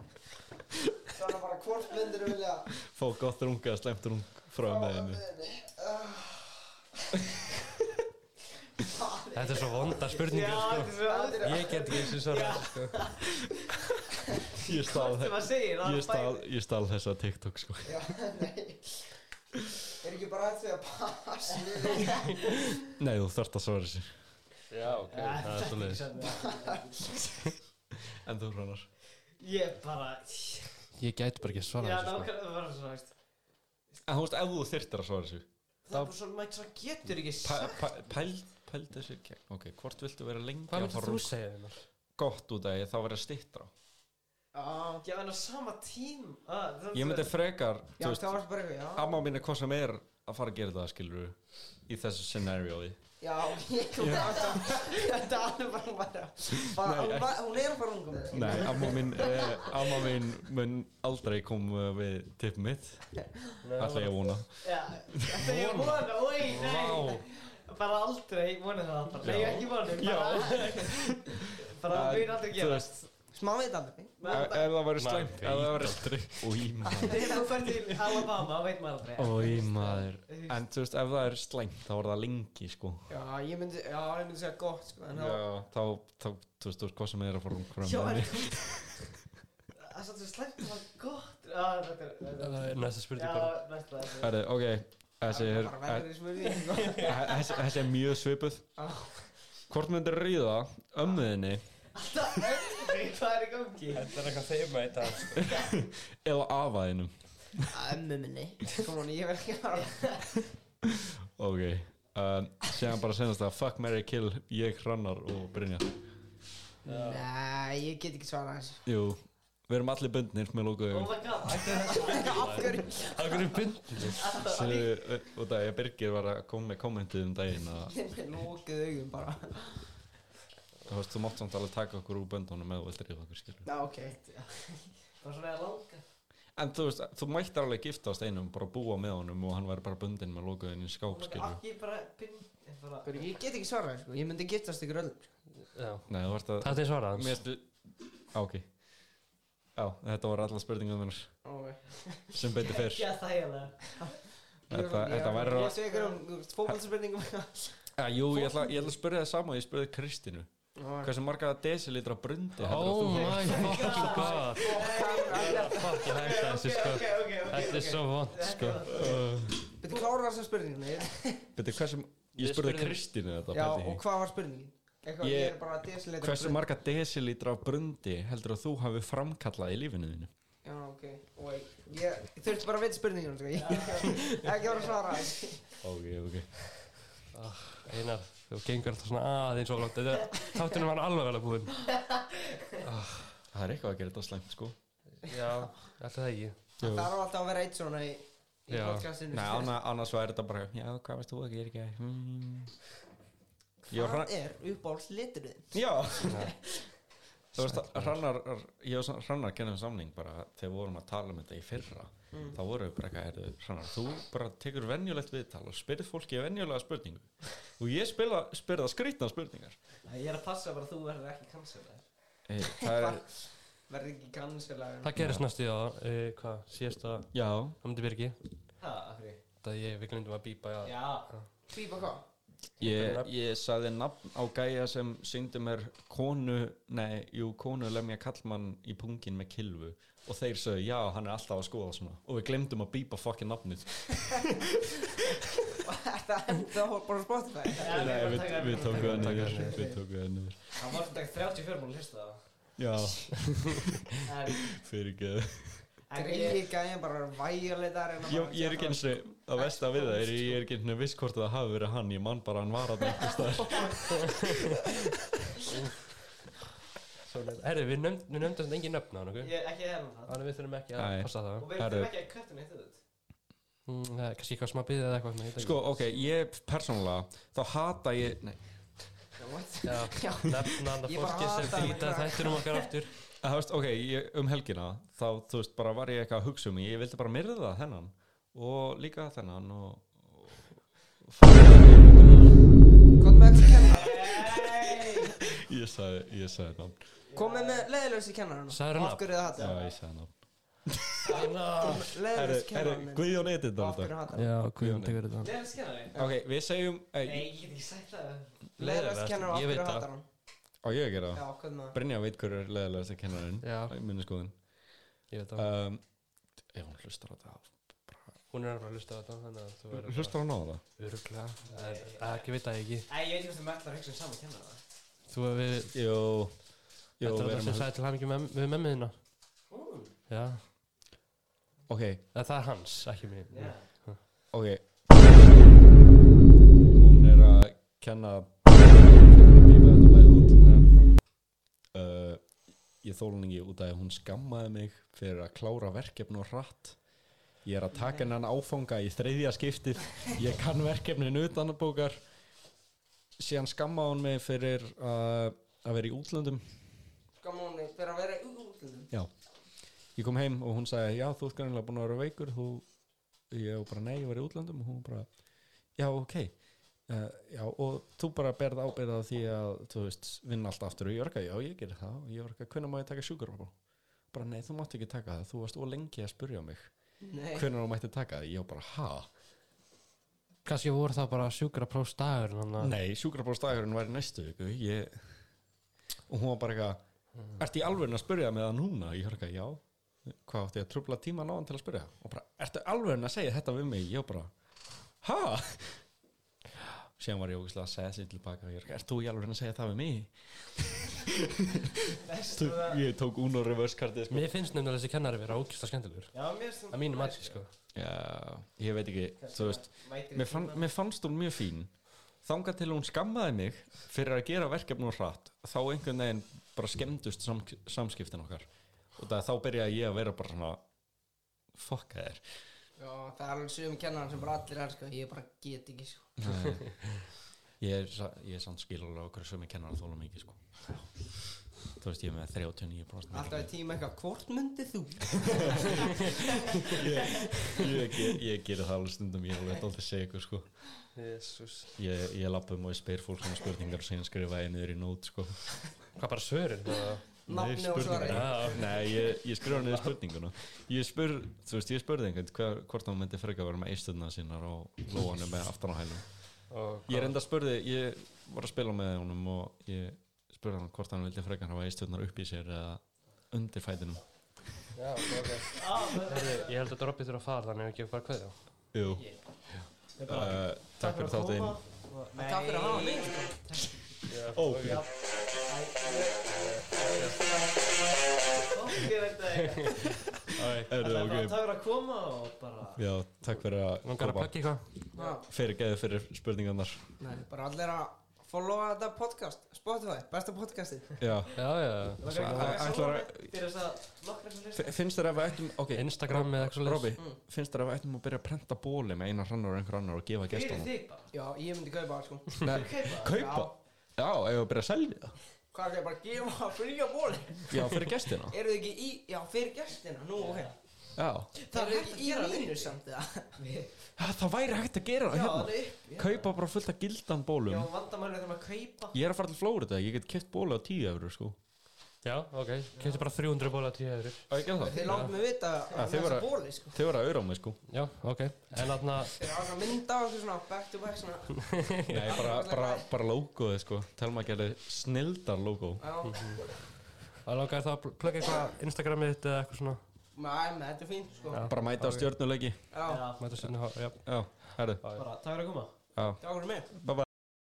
Speaker 2: Þannig bara hvort myndir þú vilja
Speaker 3: fá gott rung eða slæmt rung frá ömmuðinni
Speaker 2: Ah. Ah,
Speaker 4: Þetta er svo vonda spurningar sko.
Speaker 2: Það er
Speaker 4: Ég get ekki eins og svara sko.
Speaker 3: ég stál,
Speaker 1: sem að segja
Speaker 3: ég stál, ég stál þessa TikTok sko
Speaker 2: Já, nei Er ekki bara hægt því að passa við
Speaker 3: nei, þú þarft að svara sér
Speaker 4: Já, ok
Speaker 3: það er svo leiðis en þú hrannar
Speaker 1: ég bara
Speaker 4: Ég gæti bara ekki að svara
Speaker 1: já
Speaker 4: þessu sko.
Speaker 1: nákvæmlega það var svona veist.
Speaker 3: en þú veist, ef þú þyrtir að svara sér
Speaker 1: það er bara svona maður svona getur ekki
Speaker 3: pæl, pæl, pæl, pæl þessu í gegn. ok, hvort viltu vera lengi
Speaker 4: Hvað
Speaker 3: að
Speaker 4: myndir
Speaker 3: fara
Speaker 4: þú
Speaker 3: úr
Speaker 4: segja þér?
Speaker 3: gott út að ég þá verið að stittra
Speaker 1: já en á sama tím ah, það-
Speaker 3: ég myndi frekar,
Speaker 2: Já,
Speaker 3: þú veist,
Speaker 2: það var bara eitthvað, já
Speaker 3: amma mín er hvað sem er að fara að gera það, skilur í þessu scenariói
Speaker 2: Já, ég kom alltaf Þetta alveg bara bara bara-
Speaker 3: Nei,
Speaker 2: hún var- Hún er bara ungum
Speaker 3: nei, amma mín, eh, amma mín mun aldrei koma við tipp mitt alltaf ég að vona
Speaker 1: já þetta er ég vona oi nei bara aldrei vona það bara nei
Speaker 3: Já.
Speaker 1: ekki vona bara bara það mun aldrei
Speaker 3: Þú
Speaker 1: gerast
Speaker 3: veist,
Speaker 2: Smá veit aldrei
Speaker 3: ef
Speaker 1: Men-
Speaker 3: ef það væri
Speaker 4: Nei,
Speaker 3: slæmt ef það væri slæmt Új, maður.
Speaker 1: þegar þú fer til Alabama veit maður aldrei
Speaker 3: Új, maður. en þú veist, ef það er slæmt þá er það lengi, sko
Speaker 2: Já, ég myndi, já, ég myndi segja gott, sko En þá,
Speaker 3: Já, þá, þá, þú veist, þú veist hvað sem er að fara um
Speaker 1: Já,
Speaker 3: hverjum
Speaker 1: en Það er svolítið slæmt að það var gott Já, þetta er- þetta er
Speaker 4: Næsta spurning bara
Speaker 1: Já, næsta þetta er-
Speaker 3: Herri, ok, þessi er,
Speaker 2: bara verður í smurði sko.
Speaker 3: þessi, þessi er mjög svipuð Hvort myndir ríða ömmuðinni
Speaker 1: Það er ömmu, hvað er í gangi?
Speaker 4: Þetta er eitthvað þeima í dag sko.
Speaker 3: eða afaðinum?
Speaker 2: Að Ömmu minni Kom hún, ég verð ekki bara
Speaker 3: Ok, um, séðan bara senast það Fuck, marry, kill, ég hrannar og Brynja
Speaker 2: Nei, ég get ekki svarað þessu
Speaker 3: Jú, við erum allir bundnir með lókuðu
Speaker 1: Oh my god, ætti
Speaker 2: Af hverju?
Speaker 4: Það er hverju bundið
Speaker 1: þetta
Speaker 3: Sér, og það er Birgir var að koma með kommentið um daginn að
Speaker 2: Ég með lókið augum bara
Speaker 3: þú veist, þú mátt samt alveg taka okkur úr böndunum eða þú vilt ríða okkur skilur
Speaker 2: Já, ok
Speaker 1: Það var svona eða langa
Speaker 3: En þú veist, þú mættir alveg giftast einum bara búa með honum og hann væri bara bundin með lókuðin í skáp skilur
Speaker 1: Akki bara pinn en bara-
Speaker 2: Hverju, Ég get ekki svarað þessu, sko. ég myndi giftast ykkur öllum sko.
Speaker 3: Nei, þú varst að
Speaker 4: Þetta er svarað
Speaker 3: Mér
Speaker 4: hans
Speaker 3: stu Á, ok Já, þetta voru alla spurningum hennar
Speaker 2: Ok
Speaker 3: sem betur fyrr
Speaker 1: Já, það er það
Speaker 3: Þetta, þetta væri
Speaker 2: Ég
Speaker 3: að
Speaker 2: sé ykkur um fókbalspurningum
Speaker 3: Já, Jú, ég ætla, ég ætla að spurja það sama og ég spurði Kristínu Hversu marga desilitra brundi heldur
Speaker 4: Oh
Speaker 3: þú?
Speaker 4: my fucking god Það er fucking hægt að þessu sko Þetta er svo vond sko
Speaker 2: Byrðu klára þessar spurningum ég-
Speaker 3: Betur, hversu Ég spurði
Speaker 4: Við spurðum-
Speaker 3: Kristínu þetta
Speaker 2: Já,
Speaker 3: pældi
Speaker 2: og
Speaker 3: ég.
Speaker 2: hvað var spurningin? Eitthvað,
Speaker 3: Ég-
Speaker 2: ég er bara að desileita
Speaker 3: Hversu marga desilitra brundi heldur þú hafi framkallað í lífinu þínu?
Speaker 2: Já, ok Og ég, ég þurfti bara að veit spurningum sko. Ég- Ekki var að svara þessu.
Speaker 3: Ok, ok
Speaker 4: Einar, þú gengur alltaf svona aðeins og langt Þetta- Þáttunum var alveg vel að búin
Speaker 3: Það er eitthvað að gera þetta slæmt sko
Speaker 4: Já, alltaf það ekki
Speaker 2: Það þarf alltaf að vera eitt svona í, í
Speaker 4: Já.
Speaker 2: podcastinu sko.
Speaker 3: Nei, anna, annars væri þetta bara Já, hvað veist þú að gera ekki? Hmm. Ég var hrann-
Speaker 2: Hvað er uppáhalds liturinn?
Speaker 3: Já Þú veist, hrannar Ég og sa- hrannar kennum samning bara Þegar við vorum að tala um þetta í fyrra Þá vorum við bara eitthvað "Heyrðu, Hrannar, þú bara tekur venjulegt viðtal Og spyrir fólki venjulega spurningu Og ég spila, spyrir það skrýtna spurningar
Speaker 1: Æ, Ég er að passa bara að þú verður ekki cancelaður
Speaker 3: Hey, Það er,
Speaker 2: Verði ekki kannsvelega
Speaker 4: Það gerist næstu í að, eh, hvað, síðasta
Speaker 3: já
Speaker 4: Hamdi Birgi
Speaker 1: Ha, af hverju?
Speaker 4: Það ég, við glemdum að bípa já.
Speaker 1: Já
Speaker 2: Býpa hvað?
Speaker 3: Ég, ég saði nafn á gæja sem syngdi mér konu, nei, jú, konu lemja kallmann í pungin með kilvu og þeir sögðu, já, hann er alltaf að skoða svona og við glemdum að bípa fokkin nafnið
Speaker 2: Þetta enda bara á Spotify
Speaker 1: Já,
Speaker 3: Nei,
Speaker 1: ég
Speaker 3: við,
Speaker 1: bara taka-
Speaker 3: við tókum það niður Við tókum það niður
Speaker 1: Það var þetta 34 múl hlusta það
Speaker 3: Já,
Speaker 1: En
Speaker 3: fyrir ekki
Speaker 1: en
Speaker 2: Drengi gæðin bara hérna væjalitar
Speaker 3: Ég, ég er ekki eins og, að vesta við það er, ég er ekki eins og viss hvort að það hafi verið hann ég man bara að hann var að einhvers staðar
Speaker 4: Herri, við nefndum við nefndum þetta engin nöfn á hann, ok?
Speaker 1: ég er ekki eða um það
Speaker 4: Þannig við þurfum ekki
Speaker 3: Nei.
Speaker 4: að passa það
Speaker 1: Og við
Speaker 3: Herru.
Speaker 1: þurfum ekki að köttum eitt út
Speaker 4: Mm, Það er kannski eitthvað smá bíðið eða eitthvað svona, ég veit ekki.
Speaker 3: Sko, ok, ég persónulega, þá hata ég nei,
Speaker 4: Já, nefna annað
Speaker 2: Ég bara
Speaker 4: fólki sem
Speaker 2: hata
Speaker 4: fýta
Speaker 2: þetta.
Speaker 4: þættir um okkar aftur
Speaker 3: Þú veist, ok, ég, um helgina þá, þú veist, bara var ég eitthvað að hugsa um mig ég vildi bara myrða þennan og líka þennan og,
Speaker 2: Komið með öllu kennara
Speaker 3: og ég sagði, ég sagði nafn
Speaker 2: Komið með leiðilegstu kennara
Speaker 4: Sagðirðu
Speaker 2: Af hverju það
Speaker 3: já,
Speaker 2: hattar
Speaker 3: ég sagði nafn Herri,
Speaker 2: Leiðilegstu
Speaker 3: herri,
Speaker 2: kennara minn
Speaker 3: Guðjón Edith
Speaker 2: Af hverju hattar
Speaker 4: Já, Guðjón tekur þetta
Speaker 1: Leðast kennar þig?
Speaker 3: ok, við segjum
Speaker 1: Nei,
Speaker 3: ei,
Speaker 1: ég get ekki sagt það
Speaker 2: Leiðilegstu kennara Af
Speaker 4: Ég veit
Speaker 2: hverju
Speaker 4: það.
Speaker 2: hattar hann
Speaker 3: á ég að gera
Speaker 2: Já,
Speaker 3: það
Speaker 2: hvernig það
Speaker 3: Brynja veit hverju er leðilegast að kennarinn
Speaker 4: Já,
Speaker 3: í minni skoðin
Speaker 4: ég veit það
Speaker 3: um, ef hún hlustar á sko. þetta
Speaker 4: Hún er bara að hlusta á þetta Þannig að þú verður
Speaker 3: hlustar hún á það?
Speaker 4: Öruglega Það er ekki veit að ég ekki
Speaker 1: Nei, ég veit ekki hvort þú metlar að hugsa um saman kennara
Speaker 4: Þú hefur verið
Speaker 3: jú, jú við
Speaker 4: Þetta er það
Speaker 3: erum
Speaker 4: sem
Speaker 3: að-
Speaker 4: sagði til hann ekki með memmiðina
Speaker 1: Hún,
Speaker 4: Já
Speaker 3: ok,
Speaker 4: Eh, Það er hans, ekki mér
Speaker 1: já
Speaker 3: ok hún er að kenna bíba þetta bæði út uh, ég þóla henni ekki út af að hún skammaði mig fyrir að klára verkefni og hratt ég er að taka hennan áfanga í þriðja skiptið ég kann verkefnin utanabókar síðan skammaði hún mig fyrir uh, að vera í útlöndum
Speaker 2: Gamóni fyrir Sko, að vera í útlöndum
Speaker 3: Já Ég kom heim og hún sagði Já, þú ert greinlega búin að vera veikur þú... Ég var bara nei, ég var í útlöndum og hún bara Já, ok uh, Já, og þú bara berð ábyrða því að þú veist, vinna allt aftur og ég örga Já, ég gerir það og ég örga, hvenær má ég taka sjúkurvá Bara nei, þú mátt ekki taka það Þú varst ólengi að spurja mig
Speaker 2: Nei
Speaker 3: Hvenær þú mætti taka það? Ég var bara, ha?
Speaker 4: Kanski voru það bara sjúkra próst dagur
Speaker 3: Nei, sjúkrabóðstæðurinn var í næstu viku ég... og hún var bara eitthvað Ertu í alveg að spyrja með það núna? Ég hörka, já, hvað átti ég að trubla tíman á hann til að spyrja? Og bara, ertu alveg að segja þetta við mig? Ég var bara, ha? Síðan var ég ógæslega að segja sér tilbaka og ég hörka, ert þú í alveg að segja það við mig? Þú- ég tók Uno reverse kartið sko.
Speaker 4: Mér finnst nefnilega þessi kennari vera ókýrsla skemmtilegur
Speaker 1: Já, mér sem
Speaker 4: Að mínu mati, sko
Speaker 3: Já, ég veit ekki, þú veist
Speaker 1: Mætir
Speaker 3: mér, fann, mér fannst hún mjög fín þangað til hún skammaði mig fyrir að gera verkefnum hratt þá einhvern veginn bara skemmtust sam, samskiptin okkar og það, þá byrjaði ég að vera bara svona fokka þér
Speaker 2: Já, það er alveg sögum kennara sem bara allir er sko Ég bara get ekki sko
Speaker 3: ég er, sa- ég er samt skilulega okkur sem ég kennar að þóla mikið sko þú veist ég er með 39
Speaker 2: Alltaf í tíma eitthvað Hvort myndið þú?
Speaker 3: ég, ég, ég gerir það alveg stundum ég er alveg alltaf segja ykkur sko
Speaker 4: Jesus.
Speaker 3: ég, ég lappa um og ég spyr fólk svona spurningar og segja skrifa ég niður í nót sko
Speaker 4: Hvað bara svörin? eða?
Speaker 2: Nafni og svarið.
Speaker 3: spurningar Nei, ég, ég skrifa niður spurninguna Ég spur, þú veist, ég spurði einhvern hver, hvort hann myndi freka að vera með eistöðna sínar og lóanum með aftan á hælum
Speaker 4: Og
Speaker 3: Ég reynda spurði, ég var að spila með honum og ég spurði hann hvort hann vildi freka að hafa eistöðnar upp í sér eða undir fætinum
Speaker 4: Já, ok, ok. Heyrðu, ég held að Robby þurfa að fara þannig að ekki bara kveðja.
Speaker 3: Jú uh, Takk fyrir þáttinn
Speaker 1: Nei
Speaker 2: Takk fyrir að hafa mig sko
Speaker 1: Takk
Speaker 3: Erðu, ok
Speaker 1: fyrir að koma og bara
Speaker 3: Já, takk fyrir að
Speaker 4: Langar að
Speaker 3: koma
Speaker 4: plugga eitthvað?
Speaker 2: Já,
Speaker 3: Fyrir geðu fyrir spurningarnar
Speaker 2: Nei, bara allir að followa þetta podcast Spotify, besta podcastið
Speaker 3: Já
Speaker 4: Já, já.
Speaker 1: Langar ekki að
Speaker 3: Ætlar
Speaker 1: koma
Speaker 3: að-
Speaker 1: Til þess að nokkra sem hlusta
Speaker 3: Fi- Finnst þér að við ættum okay.
Speaker 4: Instagram eða eitthvað svoleiðis.
Speaker 3: Robby, finnst þér að við ættum að byrja að prenta bóli með einar hrannar og einhver annar og gefa
Speaker 1: Fyrir
Speaker 3: gestunum?
Speaker 1: þig bara
Speaker 2: Já, ég myndi kaupa það sko
Speaker 3: Nei,
Speaker 1: Kaupa
Speaker 3: kaupa? Já, ef við byrja að selja það?
Speaker 2: Hvað er ég bara að gefa fría bóli?
Speaker 3: Já, fyrir gestina?
Speaker 2: Eru þið ekki í, já, fyrir gestina, nú ok
Speaker 3: Já.
Speaker 1: Það
Speaker 2: Eru
Speaker 1: er
Speaker 2: þið
Speaker 1: hægt
Speaker 2: ekki í
Speaker 1: að gera
Speaker 2: línu samt eða?
Speaker 3: Ha, það væri hægt að gera það hérna.
Speaker 1: alveg upp já.
Speaker 3: Kaupa bara fullt af gildan
Speaker 1: Já,
Speaker 3: bólum.
Speaker 1: vandamálið þegar maður kaupa
Speaker 3: Ég er að fara til Flórida, ég get keft bóli á 10 eurur, sko.
Speaker 4: Já, ok. Kæfti bara 300 bóla til öðru.
Speaker 3: Það er ekki
Speaker 2: Þið
Speaker 3: það.
Speaker 2: langt mig vita
Speaker 3: Ja,
Speaker 2: um
Speaker 3: þið
Speaker 2: þessa
Speaker 3: voru-
Speaker 2: bóli sko
Speaker 3: Þau eru að auðra á mig, sko.
Speaker 4: Já, ok. En þarna,
Speaker 2: Þeir eru að mynda á þessu svona back to back svona
Speaker 3: Nei, bara, bara, bara logoðið, sko. Telma gerði snildar logo.
Speaker 2: Já,
Speaker 4: að langar það að plugga eitthvað Instagramið þitt eða eitthvað svona.
Speaker 2: maður, þetta er fínt sko
Speaker 4: Já.
Speaker 3: Bara mæta á stjörnuleiki.
Speaker 2: Já,
Speaker 4: Mæta sinni, já.
Speaker 3: Já, herru.
Speaker 1: Bara, takk fyrir að koma
Speaker 3: Já,
Speaker 2: takk fyrir mig
Speaker 3: bye bye.